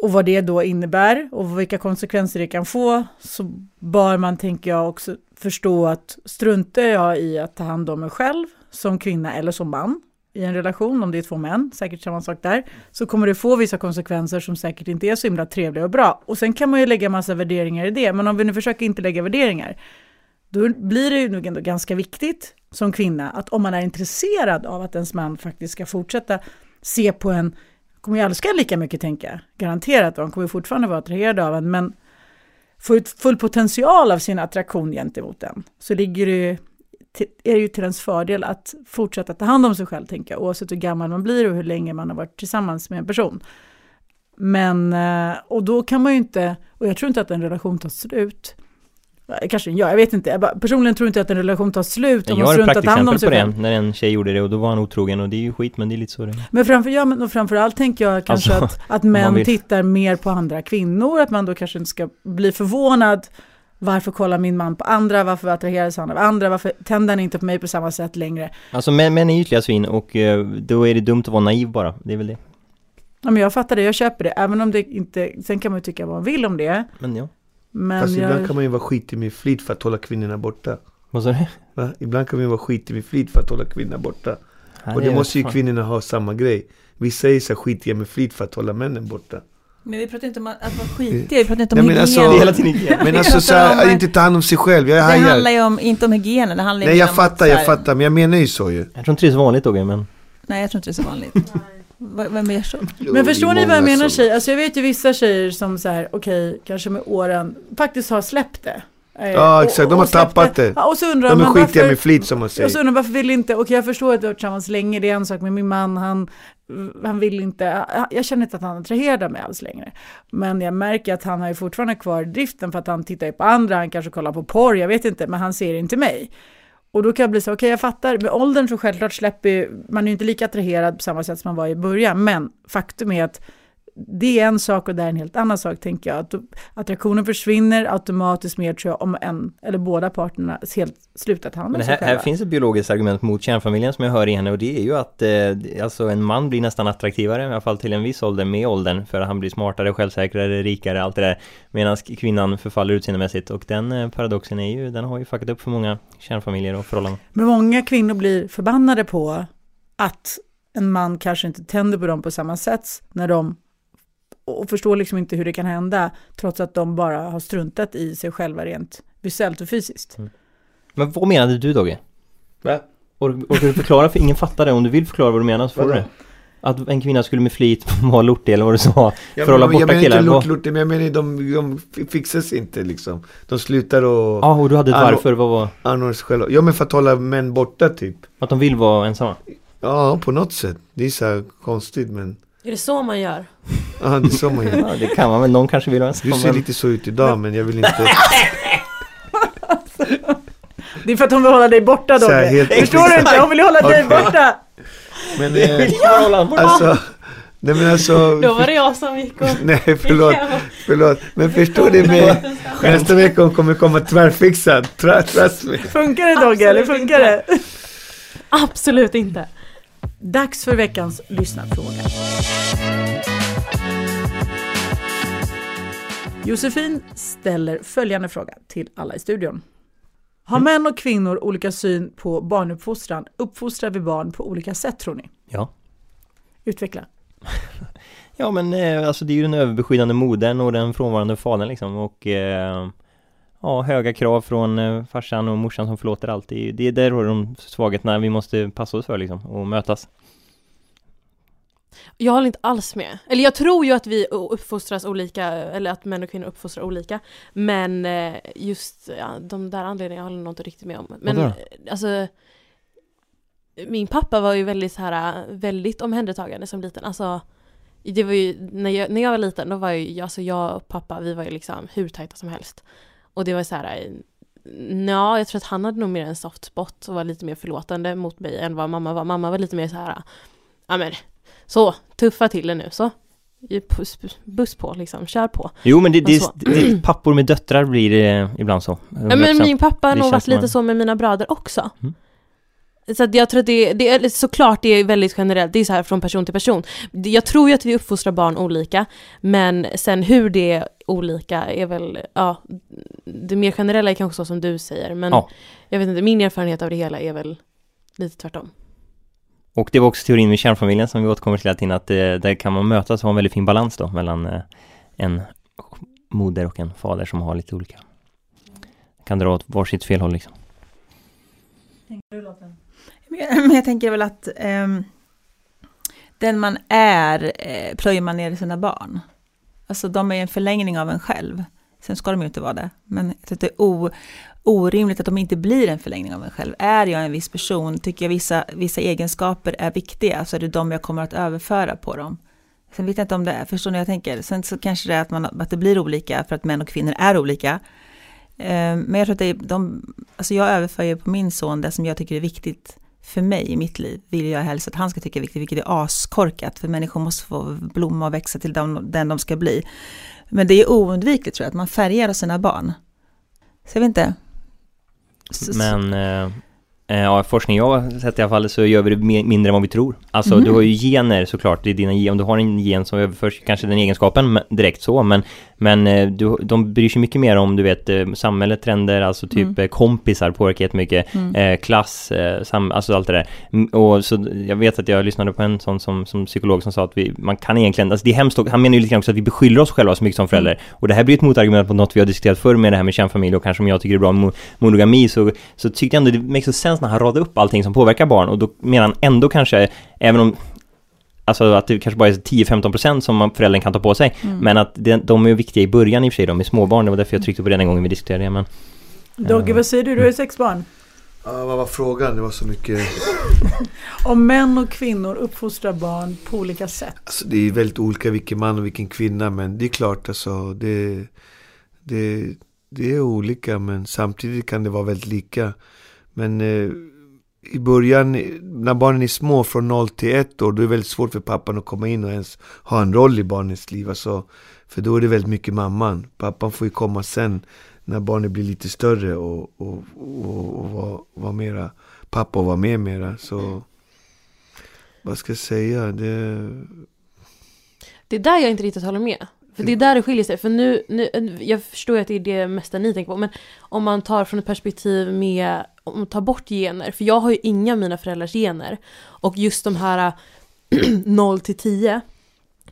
S1: och vad det då innebär och vilka konsekvenser det kan få så bör man, tänker jag, också förstå att struntar jag i att ta hand om mig själv som kvinna eller som man i en relation, om det är två män, säkert samma sak där, så kommer det få vissa konsekvenser som säkert inte är så himla trevliga och bra. Och sen kan man ju lägga massa värderingar i det, men om vi nu försöker inte lägga värderingar, då blir det ju nog ändå ganska viktigt som kvinna att om man är intresserad av att ens man faktiskt ska fortsätta se på en, kommer ju älska en lika mycket tänker jag, garanterat, och han kommer ju fortfarande vara attraherad av en, men få ut full potential av sin attraktion gentemot den, så ligger det ju till- är det ju till ens fördel att fortsätta ta hand om sig själv, tänker jag, oavsett hur gammal man blir och hur länge man har varit tillsammans med en person. Men, eh, och då kan man ju inte, och jag tror inte att en relation tar slut. Eh, Kanske den gör, jag vet inte. Jag bara, personligen tror inte att en relation tar slut om
S2: Jag
S1: man
S2: har ett
S1: struntar att ta hand om
S2: praktexempel
S1: sig
S2: på det,
S1: själv.
S2: när en tjej gjorde det och då var han otrogen och det är ju skit men det är lite så det är.
S1: Men framför, ja, men och framförallt tänker jag kanske
S2: Alltså,
S1: att, att
S2: man
S1: män
S2: vill.
S1: tittar mer på andra kvinnor, att man då kanske inte ska bli förvånad. Varför kollar min man på andra? Varför attraheras han av andra? Varför tänder han inte på mig på samma sätt längre?
S2: Alltså män, män är ytliga svin och eh, då är det dumt att vara naiv bara, det är väl det.
S1: Ja, men jag fattar det, jag köper det. Även om det inte, sen kan man ju tycka vad man vill om det.
S2: Men ja,
S1: Men
S3: Fast ibland
S1: jag,
S3: kan man ju vara skitig med flit för att hålla kvinnorna borta.
S2: vad sa du?
S3: Va? Ibland kan man ju vara skitig med flit för att hålla kvinnorna borta. och det måste ju kvinnorna ha samma grej. Vissa är så här skitiga med flit för att hålla männen borta.
S4: Men vi pratar inte om att vara skitiga, vi pratar inte om
S3: Nej, men
S4: hygien.
S3: alltså-
S2: Det är
S3: Ja.
S2: hela tiden igen.
S3: Men
S4: Vi
S3: alltså så
S4: pratar om
S3: här,
S4: att-
S3: att inte ta hand om sig själv. Jag
S4: Det handlar
S3: hajar.
S4: ju om, inte om hygienen, det handlar ju
S3: Nej
S4: om
S3: jag
S4: att
S3: fattar,
S4: så
S3: jag
S4: här-
S3: fattar. Men jag menar ju så ju.
S2: Jag tror inte det är så vanligt Dogge men
S4: Nej, jag tror inte det är så vanligt. V- Vem gör så?
S1: men förstår ni vad jag
S3: Många
S1: menar
S3: som-
S1: tjejer? Alltså jag vet ju vissa tjejer som så här, okej, kanske med åren faktiskt har släppt det. Eh,
S3: Ja, exakt. De har
S1: släppt
S3: tappat det.
S1: Ja, och så undrar
S3: De är
S1: man
S3: skitiga
S1: varför,
S3: med flit som man säger.
S1: och så undrar man varför vill inte, okej jag förstår att vi har varit tillsammans länge, det är en sak, men min man han han vill inte, jag känner inte att han attraherar mig alls längre. Men jag märker att han har ju fortfarande kvar driften för att han tittar ju på andra, han kanske kollar på porr, jag vet inte, men han ser inte mig. Och då kan jag bli så, okej jag fattar, med åldern så självklart släpper ju- man är ju inte lika attraherad på samma sätt som man var i början, men faktum är att det är en sak och det är en helt annan sak tänker jag. Att då- attraktionen försvinner automatiskt mer tror jag om en eller båda parterna helt slutat handla
S2: Men det
S1: sig
S2: här, här
S1: själva.
S2: finns ett biologiskt argument mot kärnfamiljen som jag hör i henne och det är ju att eh, alltså en man blir nästan attraktivare, i alla fall till en viss ålder med åldern, för han blir smartare, självsäkrare, rikare, allt det där. Medan kvinnan förfaller utseendemässigt och den eh, paradoxen är ju, den har ju fuckat upp för många kärnfamiljer och förhållanden.
S1: Men många kvinnor blir förbannade på att en man kanske inte tänder på dem på samma sätt när de och förstår liksom inte hur det kan hända trots att de bara har struntat i sig själva rent visuellt och fysiskt.
S2: Men vad menade du Dogge?
S3: Va?
S2: Or- Orkar du förklara? För ingen fattar det. Om du vill förklara vad du menar så får du
S3: Vadå?
S2: det. Att en kvinna skulle med flit vara lortig eller vad du sa.
S3: Jag,
S2: För att hålla
S3: menar- jag
S2: borta
S3: menar inte
S2: killar,
S3: lort,
S2: vad-
S3: lort, men jag menar de, de fi- fixas inte liksom. De slutar och
S2: Ja, Ah, och du hade ett
S3: Ja, då-
S2: varför. Vad var?
S3: anordnar sig själva. Ja men för att hålla män borta typ.
S2: Att de vill vara ensamma.
S3: Ja, på något sätt. Det är så här konstigt men...
S5: Är det så man gör?
S3: Ja, det är så man gör.
S2: Ja, det kan man väl. Någon kanske vill vara ensam.
S3: Du ser
S2: men-
S3: lite så ut idag men jag vill inte...
S1: Det är för att hon vill hålla dig borta
S3: Så här,
S1: Dogge.
S3: helt
S1: Förstår du inte? Hon vill hålla dig
S3: Okej.
S1: borta.
S3: Men eh,
S2: Ja!
S3: alltså... Nej men alltså...
S5: Då var det jag som gick och...
S3: Nej förlåt, förlåt. Men förstår ni med... Nästa vecka kommer komma tvärfixad. Tra- Trust me.
S1: Funkar det Dogge? Eller
S5: Absolut
S1: funkar det?
S5: Absolut inte.
S1: Dags för veckans lyssnarfråga. Josefin ställer följande fråga till alla i studion. Har män och kvinnor olika syn på barnuppfostran? Uppfostrar vi barn på olika sätt tror ni?
S2: Ja.
S1: Utveckla.
S2: Ja men eh, alltså det är ju den överbeskyddande modern och den frånvarande fadern liksom och eh, Ja, höga krav från eh, farsan och morsan som förlåter allt. Det är, ju- det är där har de svagheterna vi måste passa oss för liksom och mötas.
S5: Jag håller inte alls med. Eller jag tror ju att vi uppfostras olika, eller att män och kvinnor uppfostras olika. Men eh, just ja, de där anledningarna håller jag nog inte riktigt med om. Men
S2: Vadå
S5: eh, alltså, min pappa var ju väldigt, så här, eh, väldigt omhändertagande som liten. Alltså, det var ju, när, jag, när jag var liten, då var ju, alltså jag och pappa, vi var ju liksom hur tajta som helst. Och det var så här, ja, jag tror att han hade nog mer en soft spot och var lite mer förlåtande mot mig än vad mamma var. Mamma var lite mer så här, eh, ja men så, tuffa till det nu så. Ju Puss, buss på liksom, kör på.
S2: Jo men det, det,
S5: Alltså.
S2: det pappor med döttrar blir eh, ibland så.
S5: Ja, men
S2: 100%.
S5: min pappa har
S2: Det
S5: nog
S2: känns
S5: varit
S2: som
S5: lite
S2: en-
S5: så med mina bröder också.
S2: Mm.
S5: Så att jag tror att det, det är såklart det är väldigt generellt, det är så här från person till person. Det- Jag tror ju att vi uppfostrar barn olika, men sen hur det är olika är väl, ja, det mer generella är kanske så som du säger, men
S2: Ja.
S5: jag vet inte, min erfarenhet av det hela är väl lite tvärtom.
S2: Och det var också teorin med kärnfamiljen som vi återkommer till hela tiden att eh, där kan man mötas och ha en väldigt fin balans då mellan eh, en moder och en fader som har lite olika. Kan dra åt varsitt fel håll liksom.
S4: Men jag- Men jag tänker väl att ehm, den man är eh, plöjer man ner i sina barn. Alltså de är en förlängning av en själv. Sen ska de ju inte vara det. Men jag tycker det är o, orimligt att de inte blir en förlängning av en själv. Är jag en viss person, tycker jag vissa, vissa egenskaper är viktiga, så är det de jag kommer att överföra på dem. Sen vet jag inte om det är, förstår ni vad jag tänker? Sen så kanske det är att, man, att det blir olika för att män och kvinnor är olika. Ehm, Men jag tror att det är, de, alltså jag överför ju på min son det som jag tycker är viktigt för mig i mitt liv vill jag helst att han ska tycka är viktigt, vilket är askorkat, för människor måste få blomma och växa till dem, den de ska bli. Men det är oundvikligt tror jag, att man färgar av sina barn. Så jag vet inte. Så- så-
S2: Men eh, eh, ja, forskning jag har sett i alla fall så gör vi det mi- mindre än vad vi tror. Alltså
S4: Mhm.
S2: du har ju gener såklart, det är dina, gen- om du har en gen som överförs kanske den egenskapen men- direkt så men, men eh, du, de bryr sig mycket mer om du vet eh, samhället, trender, alltså typ
S4: Mm.
S2: eh, kompisar påverkar jättemycket
S4: Mm.
S2: eh, klass, eh, sam, alltså allt det där. Mm, Och så, jag vet att jag lyssnade på en sån som, som psykolog som sa att vi, man kan egentligen, alltså det är hemskt, och- han menar ju lite grann också att vi beskyller oss själva så mycket som föräldrar.
S4: Mm.
S2: Och det här blir ett motargument på något vi har diskuterat förr med det här med kärnfamilj och kanske om jag tycker det är bra med mo- monogami så, så tyckte jag ändå det makes sense när han radade upp allting som påverkar barn och då menar han ändå kanske, även om Alltså att det kanske bara är 10-15% som man- föräldern kan ta på sig.
S4: Mm.
S2: Men att det, de är ju viktiga i början i och för sig, de är småbarn. Det var därför jag tryckte på det den gången vi diskuterade det. Men
S1: Dogge, vad säger du? Du har ju sex barn.
S3: Ja, vad var frågan? Det var så mycket.
S1: Om män och kvinnor uppfostrar barn på olika sätt.
S3: Alltså, det är väldigt olika vilken man och vilken kvinna. Men det är klart, alltså, det, det, det är olika. Men samtidigt kan det vara väldigt lika. Men eh, i början, när barnen är små, från 0 till 1 år, då är det väldigt svårt för pappan att komma in och ens ha en roll i barnets liv. Alltså, för då är det väldigt mycket mamman. Pappan får ju komma sen, när barnet blir lite större och, och, och, och vara var mera pappa och vara med mera. Så, vad ska jag säga? Det,
S5: Det är där jag inte riktigt håller med. För det är där det skiljer sig. För nu, nu, jag förstår ju att det är det mesta ni tänker på, men om man tar från ett perspektiv med, om man tar bort gener, för jag har ju inga av mina föräldrars gener. Och just de här 0 till 10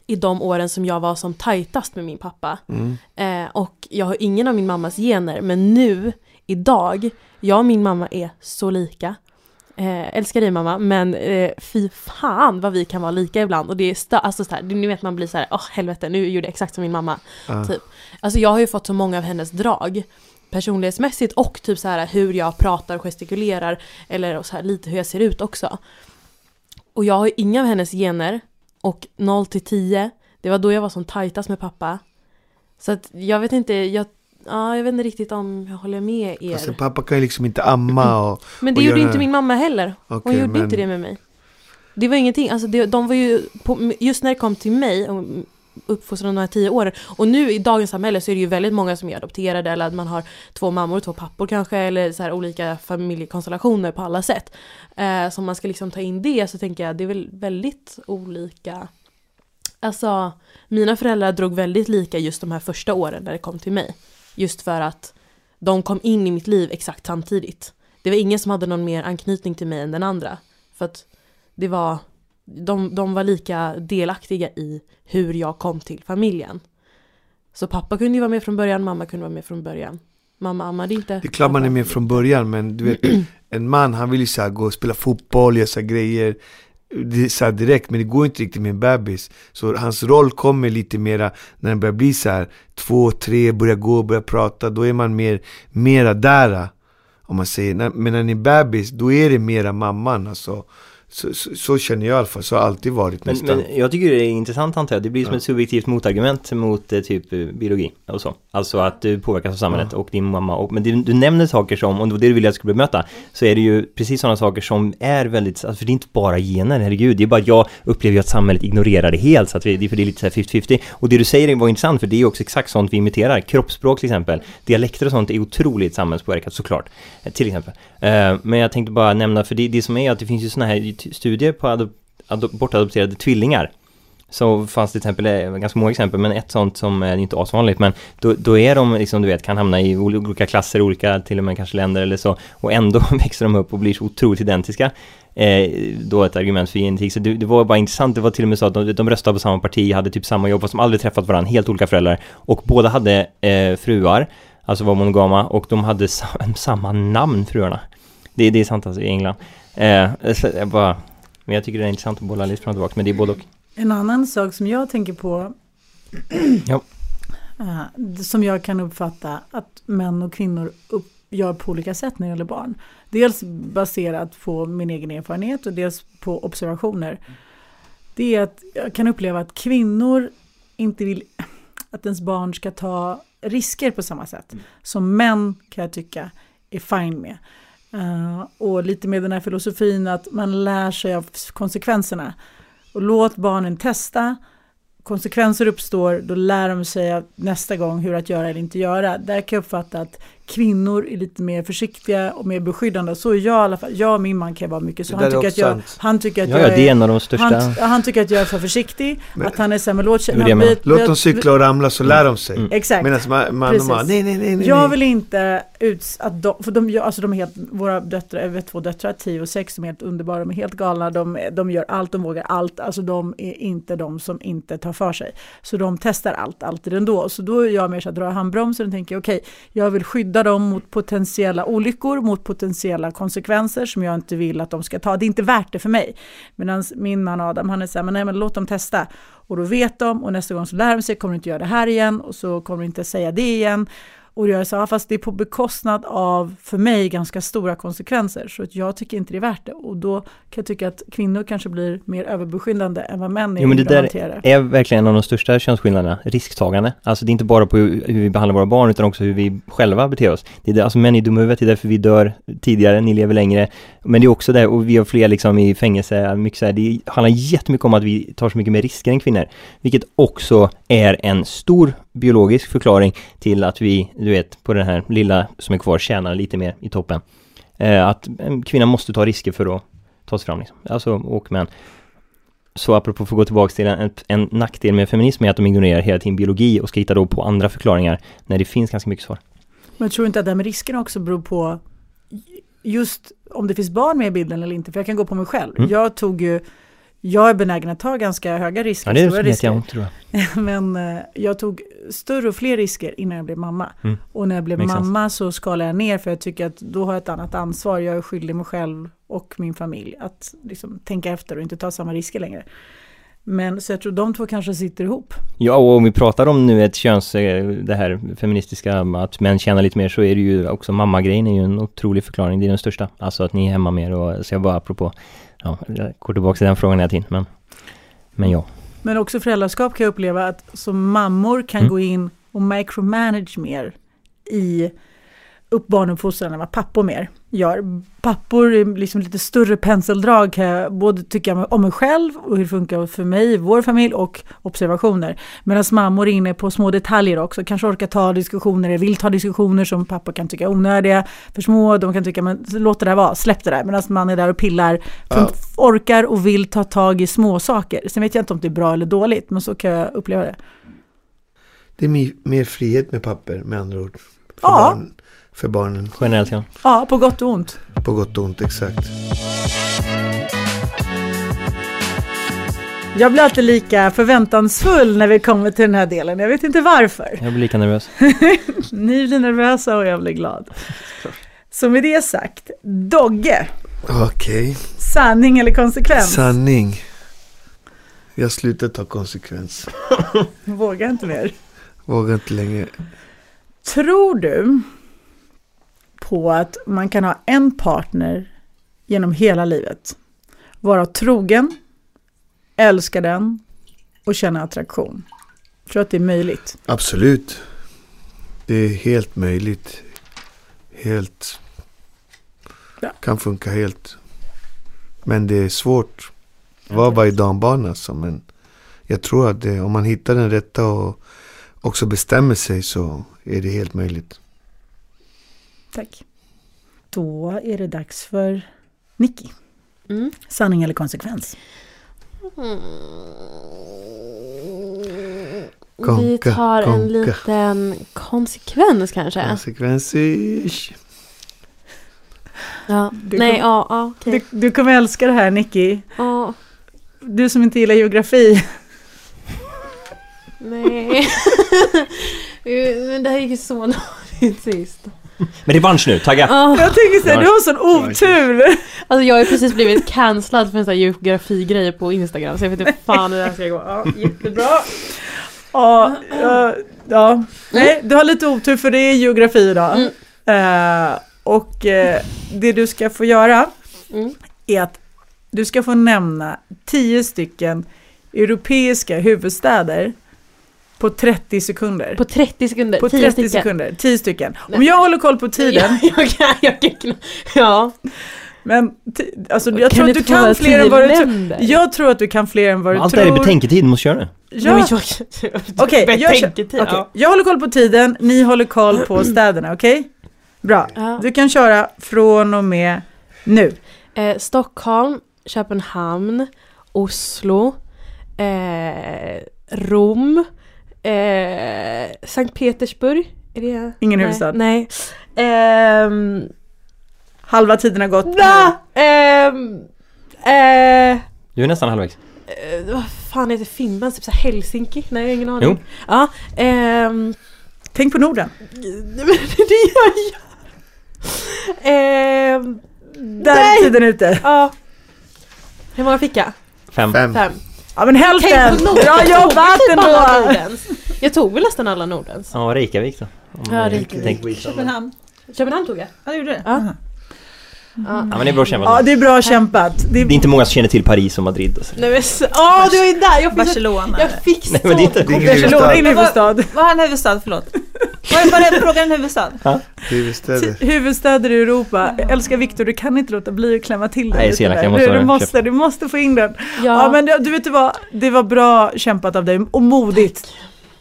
S5: i de åren som jag var som tajtast med min pappa.
S3: mm.
S5: Eh, och jag har ingen av min mammas gener, men nu, idag, jag och min mamma är så lika. Eh, älskar dig mamma, men eh, fy fan vad vi kan vara lika ibland. Och det är stö- alltså så här, ni vet man blir så här, åh helvete, nu gjorde jag exakt som min mamma.
S3: Ja.
S5: Typ. Alltså jag har ju fått så många av hennes drag personlighetsmässigt och typ så här hur jag pratar och gestikulerar eller så här lite hur jag ser ut också. Och jag har ju inga av hennes gener och 0 till 10, det var då jag var som tajtast med pappa. Så att jag vet inte, jag, ja, jag vet inte riktigt om jag håller med er.
S3: Alltså, pappa kan ju liksom inte amma och...
S5: Men det
S3: och
S5: gjorde
S3: göra-
S5: inte min mamma heller. Hon
S3: Okej,
S5: gjorde
S3: men-
S5: inte det med mig. Det var ingenting, alltså det, de var ju, på, just när det kom till mig, och uppfostran de här tio åren, och nu i dagens samhälle så är det ju väldigt många som är adopterade eller att man har två mammor och två pappor kanske eller så här olika familjekonstellationer på alla sätt. Eh, så om man ska liksom ta in det så tänker jag det är väl väldigt olika. Alltså mina föräldrar drog väldigt lika just de här första åren när det kom till mig. Just för att de kom in i mitt liv exakt samtidigt. Det var ingen som hade någon mer anknytning till mig än den andra. För att det var, de, de var lika delaktiga i hur jag kom till familjen. Så pappa kunde ju vara med från början, mamma kunde vara med från början. Mamma ammade inte.
S3: Det är klart man är med från början men du vet En man han vill ju så här gå och spela fotboll, göra så här grejer det är så här direkt, men det går inte riktigt med en bebis. Så hans roll kommer lite mera när den börjar bli så här två, tre, börjar gå, börjar prata. Då är man mer, mera där. Om man säger. När- Men när ni är bebis, då är det mera mamman. Alltså. Så, så, så känner jag i alla fall, så har det alltid varit
S2: Men,
S3: nästan.
S2: men jag tycker det är intressant antar jag. Det blir som
S3: Ja.
S2: ett subjektivt motargument mot eh, typ eh, biologi och så. Alltså att du påverkas av samhället och din mamma. Och, men du, du nämner saker som, om det var det du ville att jag skulle bemöta, så är det ju precis sådana saker som är väldigt, alltså, för det är inte bara gener, herregud. Det är bara att jag upplever ju att samhället ignorerar det helt, så att vi, det, är- för det är lite så här 50-50. Och det du säger var intressant, för det är ju också exakt sånt vi imiterar. Kroppsspråk till exempel, dialekter och sånt är otroligt samhällspåverkat såklart. eh, Till exempel. Eh, Men jag tänkte bara nämna, för det, det som är att det finns ju sådana här t- studier på adop- adop- bortadopterade tvillingar. Så fanns det till exempel, eh, ganska många exempel, men ett sånt som är inte asvanligt, men då, då är de liksom, du vet, kan hamna i ol- olika klasser, olika till och med kanske länder eller så, och ändå växer de upp och blir så otroligt identiska. Eh, då ett argument för genetik, så det, det var bara intressant, det var till och med så att de, de röstade på samma parti, hade typ samma jobb, fast de aldrig träffat varandra, helt olika föräldrar, och båda hade eh, fruar, alltså var monogama, och de hade sam- samma namn, fruarna. Det, det är sant alltså, i England. Eh, så jag bara, men jag tycker det är intressant att bolla lite fram och tillbaka, men det är både och.
S1: En annan sak som jag tänker på.
S2: Ja.
S1: eh, det Som jag kan uppfatta att män och kvinnor upp, gör på olika sätt när det gäller barn. Dels baserat på min egen erfarenhet och dels på observationer. Det är att jag kan uppleva att kvinnor inte vill att ens barn ska ta risker på samma sätt.
S3: Mm.
S1: Som män kan jag tycka är fine med. Eh, och lite med den här filosofin att man lär sig av konsekvenserna. Och låt barnen testa. Konsekvenser uppstår, då lär de sig att nästa gång hur att göra eller inte göra. Där kan jag uppfatta att kvinnor är lite mer försiktiga och mer beskyddande. Så är jag i alla fall. Jag och min man kan vara mycket så.
S3: Det
S1: Han
S3: där är
S1: tycker, att
S3: också
S1: jag,
S3: sant.
S1: han tycker att
S2: Ja, ja,
S1: jag
S2: det är en av de största.
S1: han, ja, han tycker att jag är för försiktig,
S3: Men-
S1: att han är sämre. Låt,
S2: Det är det jag menar.
S3: Låt dem cykla och ramla så lär de
S2: Mm.
S3: sig.
S1: Exakt.
S3: Medan man, man,
S1: Precis.
S3: man nej, nej, nej, nej.
S1: Jag
S3: nej.
S1: vill inte uts att de, för de, gör- alltså de är helt, våra döttrar, vi har två döttrar, 10 och 6, de är helt underbara, de är helt galna, de, de gör allt, de vågar allt, alltså de är inte de som inte tar för sig. Så de testar allt, alltid ändå. Så då är jag mer så att dra i handbromsen och tänker okej, jag vill skydda dem mot potentiella olyckor, mot potentiella konsekvenser som jag inte vill att de ska ta. Det är inte värt det för mig. Medan min man Adam, han är så här, men nej men låt dem testa. Och då vet de och nästa gång så lär de sig, kommer du inte göra det här igen och så kommer du inte säga det igen. Och Och jag sa, "Ja, fast det är på bekostnad av, för mig, ganska stora konsekvenser. Så att jag tycker inte det är värt det. Och då kan jag tycka att kvinnor kanske blir mer överbeskyddande än vad män är.
S2: Jo, men det
S1: ibland
S2: där-
S1: hanterar.
S2: är verkligen en av de största könsskillnaderna, risktagande. Alltså det är inte bara på hur hur vi behandlar våra barn utan också hur vi själva beter oss. Det är det, alltså män är dumma i huvudet, det är därför vi dör tidigare, ni lever längre. Men det är också det, och vi har fler liksom i fängelse, mycket så här, det handlar jättemycket om att vi tar så mycket mer risker än kvinnor. Vilket också är en stor biologisk förklaring till att vi, du vet, på den här lilla som är kvar tjänar lite mer i toppen. Eh, att en kvinna måste ta risker för att ta sig fram liksom. Alltså, och män. Så apropå för att gå tillbaka till en, en nackdel med feminism är att de ignorerar hela tiden biologi och ska hitta då på andra förklaringar när det finns ganska mycket svar.
S1: Men jag tror inte att det här med riskerna också beror på just om det finns barn med i bilden eller inte. För jag kan gå på mig själv.
S2: Mm.
S1: Jag tog ju, jag är benägen att ta ganska höga risker,
S2: Ja, det är
S1: stora
S2: som
S1: risker.
S2: jag ont tror jag.
S1: Men eh, jag tog större och fler risker innan jag blev mamma.
S2: Mm.
S1: Och när jag blev
S2: Makes sense.
S1: mamma så skalade jag ner för jag tycker att då har jag ett annat ansvar. Jag är skyldig mig själv och min familj att liksom, tänka efter och inte ta samma risker längre. Men så jag tror de två kanske sitter ihop.
S2: Ja, och om vi pratar om nu ett köns, eh, det här feministiska, att män tjänar lite mer, så är det ju också mammagrejen är ju en otrolig förklaring, det är den största. Alltså att ni är hemma mer och, så jag bara apropå, ja, jag går tillbaka till den frågan hela tiden, men, men ja.
S1: Men också föräldraskap kan jag uppleva att som mammor kan
S2: Mm.
S1: gå in och micromanage mer i upp barnuppfostran än vad pappor mer gör. Pappor är liksom lite större penseldrag kan jag både tycka om mig själv och hur det funkar för mig, vår familj och observationer. Medan mammor är inne på små detaljer också, kanske orkar ta diskussioner, eller vill ta diskussioner som pappor kan tycka är onödiga, för små, de kan tycka men låt det där vara, släpp det där. Medan man är där och pillar som
S3: Ja.
S1: orkar och vill ta tag i små saker. Sen vet jag inte om det är bra eller dåligt, men så kan jag uppleva det.
S3: Det är mi- mer frihet med papper med andra ord. För,
S1: Ja.
S3: barn, för barnen,
S2: Generellt ja.
S1: Ja, på gott och ont.
S3: på gott och ont exakt.
S1: Jag blir alltid lika förväntansfull när vi kommer till den här delen. Jag vet inte varför.
S2: Jag blir lika nervös.
S1: Ni blir nervösa och jag blir glad. Så med det sagt, Dogge,
S3: Okej,
S1: sanning eller konsekvens?
S3: sanning. Jag slutar ta konsekvens.
S1: Vågar inte mer.
S3: Vågar inte längre.
S1: Tror du på att man kan ha en partner genom hela livet? Vara trogen, älska den och känna attraktion. Tror du att det är möjligt?
S3: Absolut. Det är helt möjligt. Helt.
S1: Ja.
S3: Kan funka helt. Men det är svårt. Det var bara i dambana alltså. Men jag tror att det, om man hittar den rätta och också bestämmer sig så är det helt möjligt.
S1: Tack. Då är det dags för Nicky.
S5: Mm.
S1: Sanning eller konsekvens?
S5: Vi
S3: Konka,
S5: tar
S3: konka.
S5: en liten konsekvens kanske.
S3: Konsekvenser.
S5: Ja.
S1: Du
S5: Nej,
S1: kom-
S5: ja, ja, okej.
S1: Du, du kommer älska det här Nicky.
S5: Ja,
S1: Du som inte gillar geografi.
S5: nej. Men det här gick ju så dåligt sist.
S2: Men revansch nu, tagga!
S5: Ja.
S1: Jag tänker såhär, du har sån otur.
S5: Alltså jag har ju precis blivit cancellad för en sån här geografigrej på Instagram så jag vet inte fan hur det här ska gå. Ja, jättebra.
S1: Ja, ja, ja. Nej, du har lite otur för det är geografi idag.
S5: Mm.
S1: Eh, och eh, det du ska få göra
S5: Mm.
S1: är att du ska få nämna tio stycken europeiska huvudstäder på 30 sekunder.
S5: På 30 sekunder,
S1: På
S5: 10
S1: 30
S5: stycken.
S1: sekunder, 10 stycken. Om
S5: Nej.
S1: jag håller koll på tiden,
S5: Jag, jag kan, jag kan kna- Ja.
S1: men ti- alltså, jag tror att du kan fler än vad du tror. Jag tror att du kan fler än vad du
S2: Allt det
S1: tror.
S2: här är betänketid, måste köra nu.
S1: Ja. Okej,
S5: Okej,
S1: jag kör- Okej, Jag håller koll på tiden, ni håller koll på städerna, okej? Bra.
S5: Ja.
S1: Du kan köra från och med nu.
S5: Eh, Stockholm, Köpenhamn, Oslo, eh, Rom, eh, Sankt Petersburg. Är det?
S1: Ingen
S5: nej,
S1: huvudstad.
S5: Nej. Ehm,
S1: Halva tiden har gått.
S5: Va? Ehm, eh,
S2: Du är nästan halvvägs.
S5: eh, vad fan heter Finland? Typ så här Helsinki? Nej, jag har ingen aning.
S2: Jo.
S5: Ja, ehm,
S1: Tänk på Norden.
S5: nej, men det gör jag. Ehm,
S1: Där är
S5: nej!
S1: tiden ute.
S5: Ja. Hur många fick jag?
S2: Fem.
S3: Fem.
S5: Fem.
S1: Ja, Ja men hälften!
S5: Tänk på Nordens.
S1: Bra
S5: Jag tog
S1: jobbat
S5: typ alla
S1: ändå!
S5: Nordens. Jag tog väl nästan alla Nordens.
S2: Ja, Reykjavik då. Om
S5: Ja,
S2: vi
S5: Reykjavik.
S2: tänker-
S4: Köpenhamn.
S5: Köpenhamn tog jag.
S4: Ja, du gjorde det?
S5: Ja.
S4: Aha.
S2: Ja, men det är bra kämpat.
S1: Ja det är bra kämpat. Det
S2: Det är
S1: är...
S2: inte många som känner till Paris och Madrid och så.
S5: Nej men s- åh du var ju där! Jag fick, så-
S4: Barcelona.
S5: jag fick så...
S2: Nej, men det är inte-
S3: Det är ingen
S1: Barcelona är en
S3: huvudstad.
S4: Men
S1: huvudstad.
S4: Vad är en huvudstad? Förlåt. Vad är, vad är frågan en huvudstad?
S3: Det är huvudstäder.
S1: Huvudstäder i Europa. Jag älskar Viktor, du kan inte låta bli att klämma till
S2: Nej,
S1: dig
S2: så jävla, jag
S1: där.
S2: måste
S1: Du,
S2: ha
S1: du,
S2: den
S1: måste,
S2: köpt.
S1: du måste få in den.
S5: Ja.
S1: Ja. men det, du vet du vad, det var bra kämpat av dig och modigt.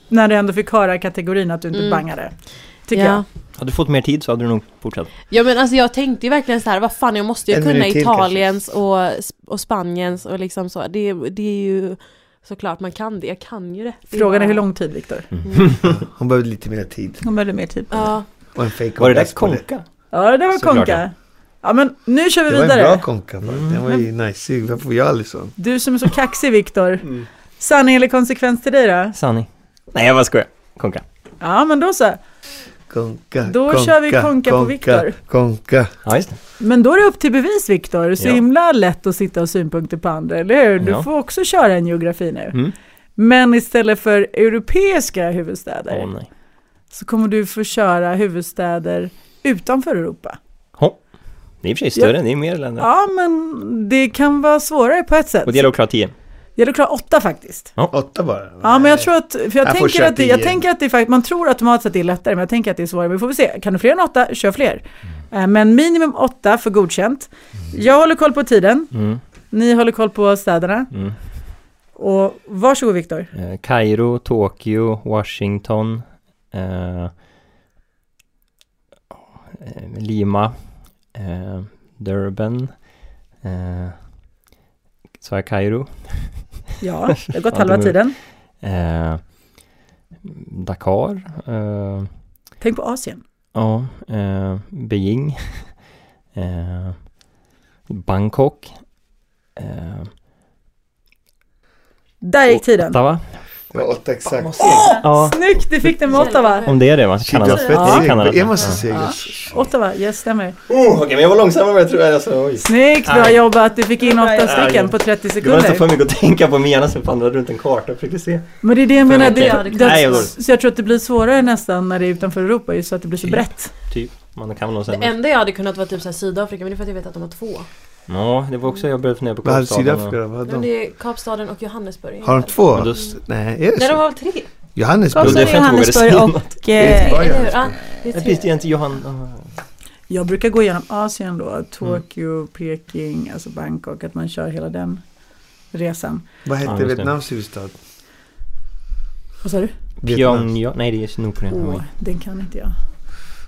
S1: När du ändå fick höra kategorin att du inte
S5: Mm.
S1: bangade. Tycker
S5: ja.
S1: jag.
S2: Hade du fått mer tid så hade du nog fortsatt.
S5: Ja men alltså jag tänkte ju verkligen så här, vad fan jag måste ju
S3: En
S5: kunna
S3: minut till
S5: Italiens och, och Spaniens och liksom så. Det, det är ju såklart man kan det, jag kan ju det. det
S1: Frågan är
S5: bara-
S1: hur lång tid Viktor?
S3: Hon behövde lite mer tid.
S4: Hon behövde mer tid på det.
S5: Ja.
S3: Och en fake
S2: Var det där
S3: orgasm på
S2: konka?
S1: Ja det där var
S2: Såklart,
S1: konka. Ja men nu kör vi
S3: Det var en
S1: vidare.
S3: bra konka. va?
S2: Mm.
S3: Den var ju nice. Varför får jag aldrig sån?
S1: Du som är så kaxig Viktor. Sanning eller konsekvens till dig då?
S2: Sanning. Nej, jag bara skojar. Konka.
S1: Ja men då så.
S3: Konka,
S1: Då kör vi konka på Viktor.
S3: Konka.
S2: Ja, just det.
S1: Men då är det upp till bevis Viktor. Så
S2: Ja.
S1: himla lätt att sitta och ha synpunkter på andra, eller hur? Du
S2: Ja.
S1: får också köra en geografi nu.
S2: Mm.
S1: Men istället för europeiska huvudstäder
S2: Åh, nej.
S1: så kommer du få köra huvudstäder utanför Europa.
S2: Det är i och för sig större, det är mer länder.
S1: Ja, men det kan vara svårare på ett sätt.
S2: Och det gäller att klara 10.
S1: Jag hade klarat åtta faktiskt.
S3: Åtta bara.
S1: Ja, men jag tror att, för jag,
S3: Jag får
S1: tänker,
S3: köra
S1: att det, jag
S3: tio.
S1: tänker att det är faktiskt, man tror automatiskt att det är lättare, men jag tänker att det är svårare. Men vi får väl se, kan du fler än åtta, kör fler.
S2: Mm.
S1: Eh, Men minimum åtta för godkänt. Jag håller koll på tiden,
S2: Mm,
S1: ni håller koll på städerna.
S2: mm.
S1: Och varsågod Viktor.
S2: Eh, Kairo, Tokyo, Washington, eh, eh, Lima, eh, Durban, eh, sa jag Kairo?
S1: Ja, det har gått
S2: Ja,
S1: halva
S2: det-
S1: tiden.
S2: Eh, Dakar, eh,
S1: Tänk på Asien.
S2: ja, eh, Beijing, eh, Bangkok, eh,
S1: Där gick tiden.
S2: Ottawa.
S3: Det var åtta exakt.
S2: Ja,
S1: Snyggt, du fick den med Ottawa.
S2: om det är det va?
S3: Shit,
S2: Kanada.
S3: vad
S2: Det
S3: fett
S2: är
S3: seg.
S2: Kanada.
S3: Jag måste
S2: Ja.
S3: segra.
S1: Ottawa, yes, stämmer.
S2: Oh, Okej, men jag var långsammare än jag trodde. Alltså, oj.
S1: Snyggt, bra
S2: Aj.
S1: jobbat. Du fick in åtta
S4: Aj.
S1: stycken på 30
S2: Det var nästan för
S1: sekunder.
S2: mycket att tänka på. Min hjärna som vandrade runt en karta och försökte se.
S1: Men det är det jag menar.
S2: mycket.
S1: Det,
S2: Nej, jag
S1: det,
S2: går.
S1: så jag tror att det blir svårare nästan när det är utanför Europa, just så att det blir så
S2: Typ.
S1: brett.
S2: Typ. Man kan nog
S5: Det
S2: sämre.
S5: enda jag hade kunnat vara typ så här Sydafrika, men det är för att jag vet att de har två.
S2: Ja, det var också jag började fundera på
S3: Vad hade
S2: Kapstaden
S3: Sydafrika då? Vad
S5: Men
S3: hade de?
S5: det är Kapstaden och Johannesburg.
S3: Har de två?
S2: Men då-
S3: Nej, är det
S5: Nej de
S3: så?
S5: har väl tre?
S2: Jo, det är
S3: Johannesburg?
S2: för att jag inte vågade
S4: Johannesburg
S2: säga
S4: och-
S2: något.
S4: Och,
S3: Det är
S4: eh,
S3: inte bara
S5: Eller hur?
S3: Johannesburg.
S5: Ja, det är
S2: Jag visste
S5: tre.
S2: ju inte Johan... ah.
S1: Jag brukar gå igenom Asien då, Tokyo, Peking, alltså Bangkok, att man kör hela den resan.
S3: Vad
S2: Ja,
S3: hette
S2: just det.
S3: Vietnams huvudstad?
S1: Vad sa du?
S3: Vietnam.
S2: Pyongyang. Nej, det är Nordkorea.
S1: Åh,
S2: Oj.
S1: den kan inte jag.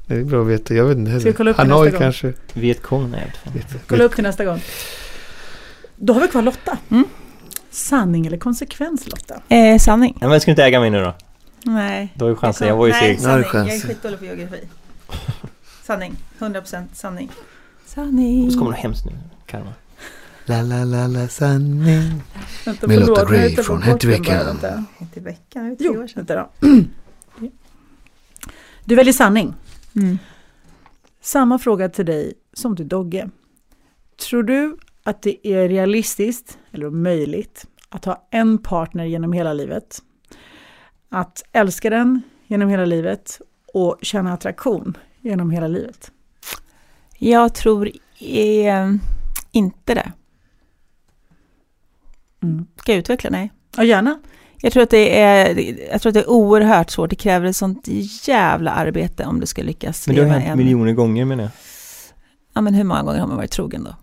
S3: Det är bra att veta. Jag vet inte
S1: Ska vi kolla
S3: heller.
S1: upp det
S3: Hanoi
S1: nästa gång?
S3: kanske?
S2: Vietkong? Nej, jag vet fan.
S1: Kolla upp till nästa gång. Då har vi kvar Lotta. Sanning eller konsekvens Lotta?
S4: eh, sanning.
S2: Nej, men ska du inte äga mig nu då?
S4: Nej.
S2: Då har ju chansen. Jag var ju
S4: Nej,
S2: seg.
S3: Nu har du
S4: sanning. Jag är
S3: chansen.
S4: skitdålig på geografi. Sanning. 100% sanning. Sanning.
S2: Och så kommer det hemskt nu. Karma.
S3: La la la la sanning.
S1: Vänta,
S3: Med Lotta
S1: förlåt, jag
S3: Gray
S1: hittar på
S3: från
S1: korten
S3: Hedvika.
S1: bara, vänta.
S4: Inte i veckan, det är tre
S1: Jo,
S4: år sedan.
S1: vänta då. Du väljer sanning.
S4: Mm.
S1: Samma fråga till dig som till Dogge. Tror du att det är realistiskt, eller möjligt, att ha en partner genom hela livet? Att älska den genom hela livet och känna attraktion genom hela livet?
S4: Jag tror eh, inte det.
S1: Mm.
S4: Ska jag utveckla? Nej.
S1: Ja, gärna.
S4: Jag tror, att det är, jag tror att det är oerhört svårt. Det kräver ett sånt jävla arbete om du ska lyckas
S2: Men det har
S4: leva
S2: hänt miljoner gånger menar jag.
S4: Ja, men hur många gånger har man varit trogen då?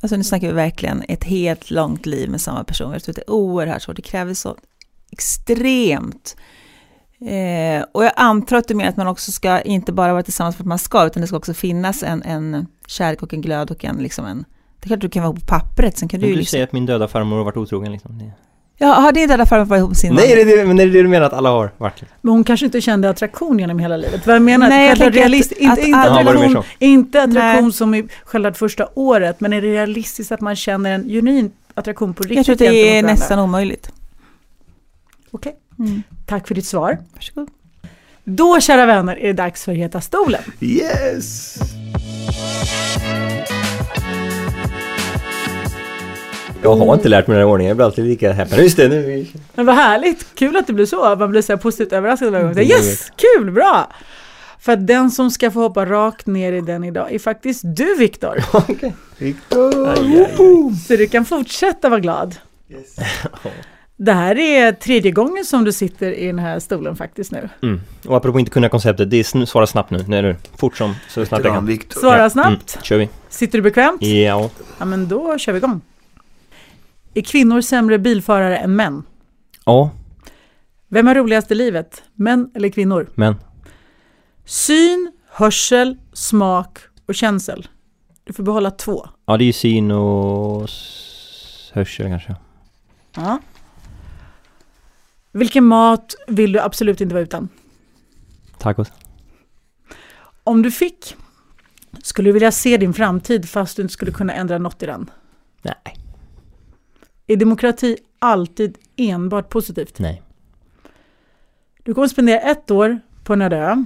S4: Alltså nu snackar vi verkligen ett helt långt liv med samma person. Jag tror att det är oerhört svårt. Det kräver så extremt. Eh, och jag antar att du menar att man också ska inte bara vara tillsammans för att man ska, utan det ska också finnas en, en kärlek och en glöd och en, liksom en... Det är klart du kan vara på pappret, sen kan du
S2: Men
S4: ju...
S2: du
S4: Liksom,
S2: säger att min döda farmor har varit otrogen liksom. Det-
S4: ja, har det i alla fall varit ihop med sin man?
S2: Nej, det är det, men är det det du menar att alla har varit?
S1: Men hon kanske inte kände attraktion genom hela livet. Vad jag menar,
S4: Nej, jag
S1: själva
S4: tänker att-
S1: realist, inte,
S4: att
S1: inte,
S4: alla-
S2: Ja, var det mer
S1: attraktion, inte attraktion
S4: Nej.
S1: som i själva det första året, men är det realistiskt att man känner en genuin attraktion på riktigt?
S4: jag tror att det är
S1: gentemot varandra?
S4: nästan omöjligt.
S1: Okej,
S4: Mm.
S1: tack för ditt svar.
S4: Varsågod.
S1: Då, kära vänner, är det dags för Heta stolen.
S3: Yes!
S2: Jag har inte lärt mig den här ordningen, jag blir alltid lika häpen. Just det, nu...
S1: Men vad härligt! Kul att det blir så. Man blir så här positivt överraskad varje gång. Så här, Yes! Kul! Bra! För att den som ska få hoppa rakt ner i den idag är faktiskt du, Viktor.
S3: Victor!
S1: Så du kan fortsätta vara glad. Det här är tredje gången som du sitter i den här stolen faktiskt nu.
S2: Mm. Och apropå inte kunna konceptet, det är sn- svara snabbt nu. Nej, nu. Fort som, så snabbt jag
S3: Kram,
S2: kan.
S3: Victor.
S1: Svara
S2: Ja,
S1: snabbt.
S2: Mm. Kör vi.
S1: Sitter du bekvämt?
S2: Ja.
S1: Ja, men då kör vi igång. Är kvinnor sämre bilförare än män?
S2: Ja,
S1: Vem har roligast i livet? Män eller kvinnor?
S2: men.
S1: Syn, hörsel, smak och känsel. Du får behålla två.
S2: Ja, det är ju syn och s- hörsel kanske.
S1: Ja. Vilken mat vill du absolut inte vara utan?
S2: Tacos.
S1: Om du fick, skulle du vilja se din framtid fast du inte skulle kunna ändra något i den?
S2: Nej.
S1: Är demokrati alltid enbart positivt?
S2: Nej.
S1: Du kommer spendera ett år på en öde ö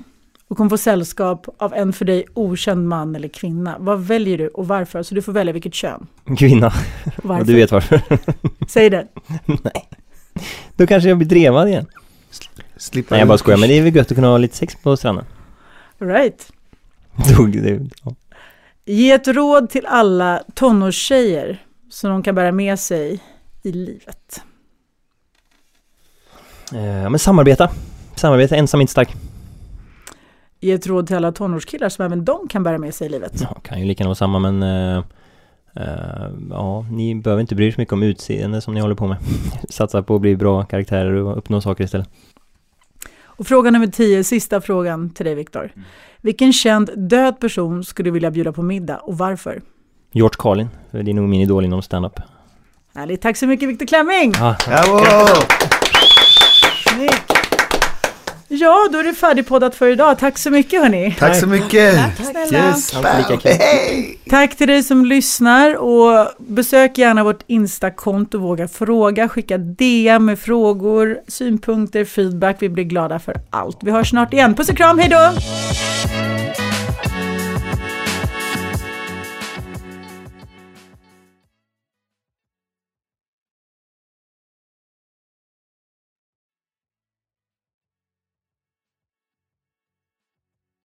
S1: och kommer få sällskap av en för dig okänd man eller kvinna. Vad väljer du och varför? Så du får välja vilket kön.
S2: Kvinna.
S1: Och
S2: Och
S1: Varför?
S2: du vet varför.
S1: Säg det.
S2: Då kanske jag blir drevad igen.
S3: Slippa
S2: Nej, jag bara skojar. Men det är väl gött att kunna ha lite sex på stranden.
S1: All Right.
S2: Dog det. Ja.
S1: Ge ett råd till alla tonårstjejer som de kan bära med sig i livet.
S2: Eh, men samarbeta. Samarbeta, ensam inte stark.
S1: Ge ett råd till alla tonårskillar som även de kan bära med sig i livet.
S2: Ja, kan ju lika gärna vara samma men eh, eh, Ja, ni behöver inte bry er så mycket om utseende som ni håller på med. Satsa på att bli bra karaktärer och uppnå saker istället.
S1: Och fråga nummer 10, sista frågan till dig Viktor.
S2: Mm.
S1: Vilken känd död person skulle du vilja bjuda på middag och varför?
S2: George Carlin, för det är nog min idol inom stand-up.
S1: Härligt, tack så mycket Viktor Klemming!
S2: Ah,
S3: Bravo!
S1: Snyggt. Ja, då är det färdigpoddat för idag. Tack så mycket hörni!
S3: Tack så mycket!
S4: snälla.
S3: Yes,
S2: Alltid lika
S3: bam.
S2: kul.
S3: Hej!
S1: Tack till dig som lyssnar och besök gärna vårt Insta-konto Våga Fråga. Skicka DM med frågor, synpunkter, feedback. Vi blir glada för allt. Vi hörs snart igen. Puss och kram, hej då!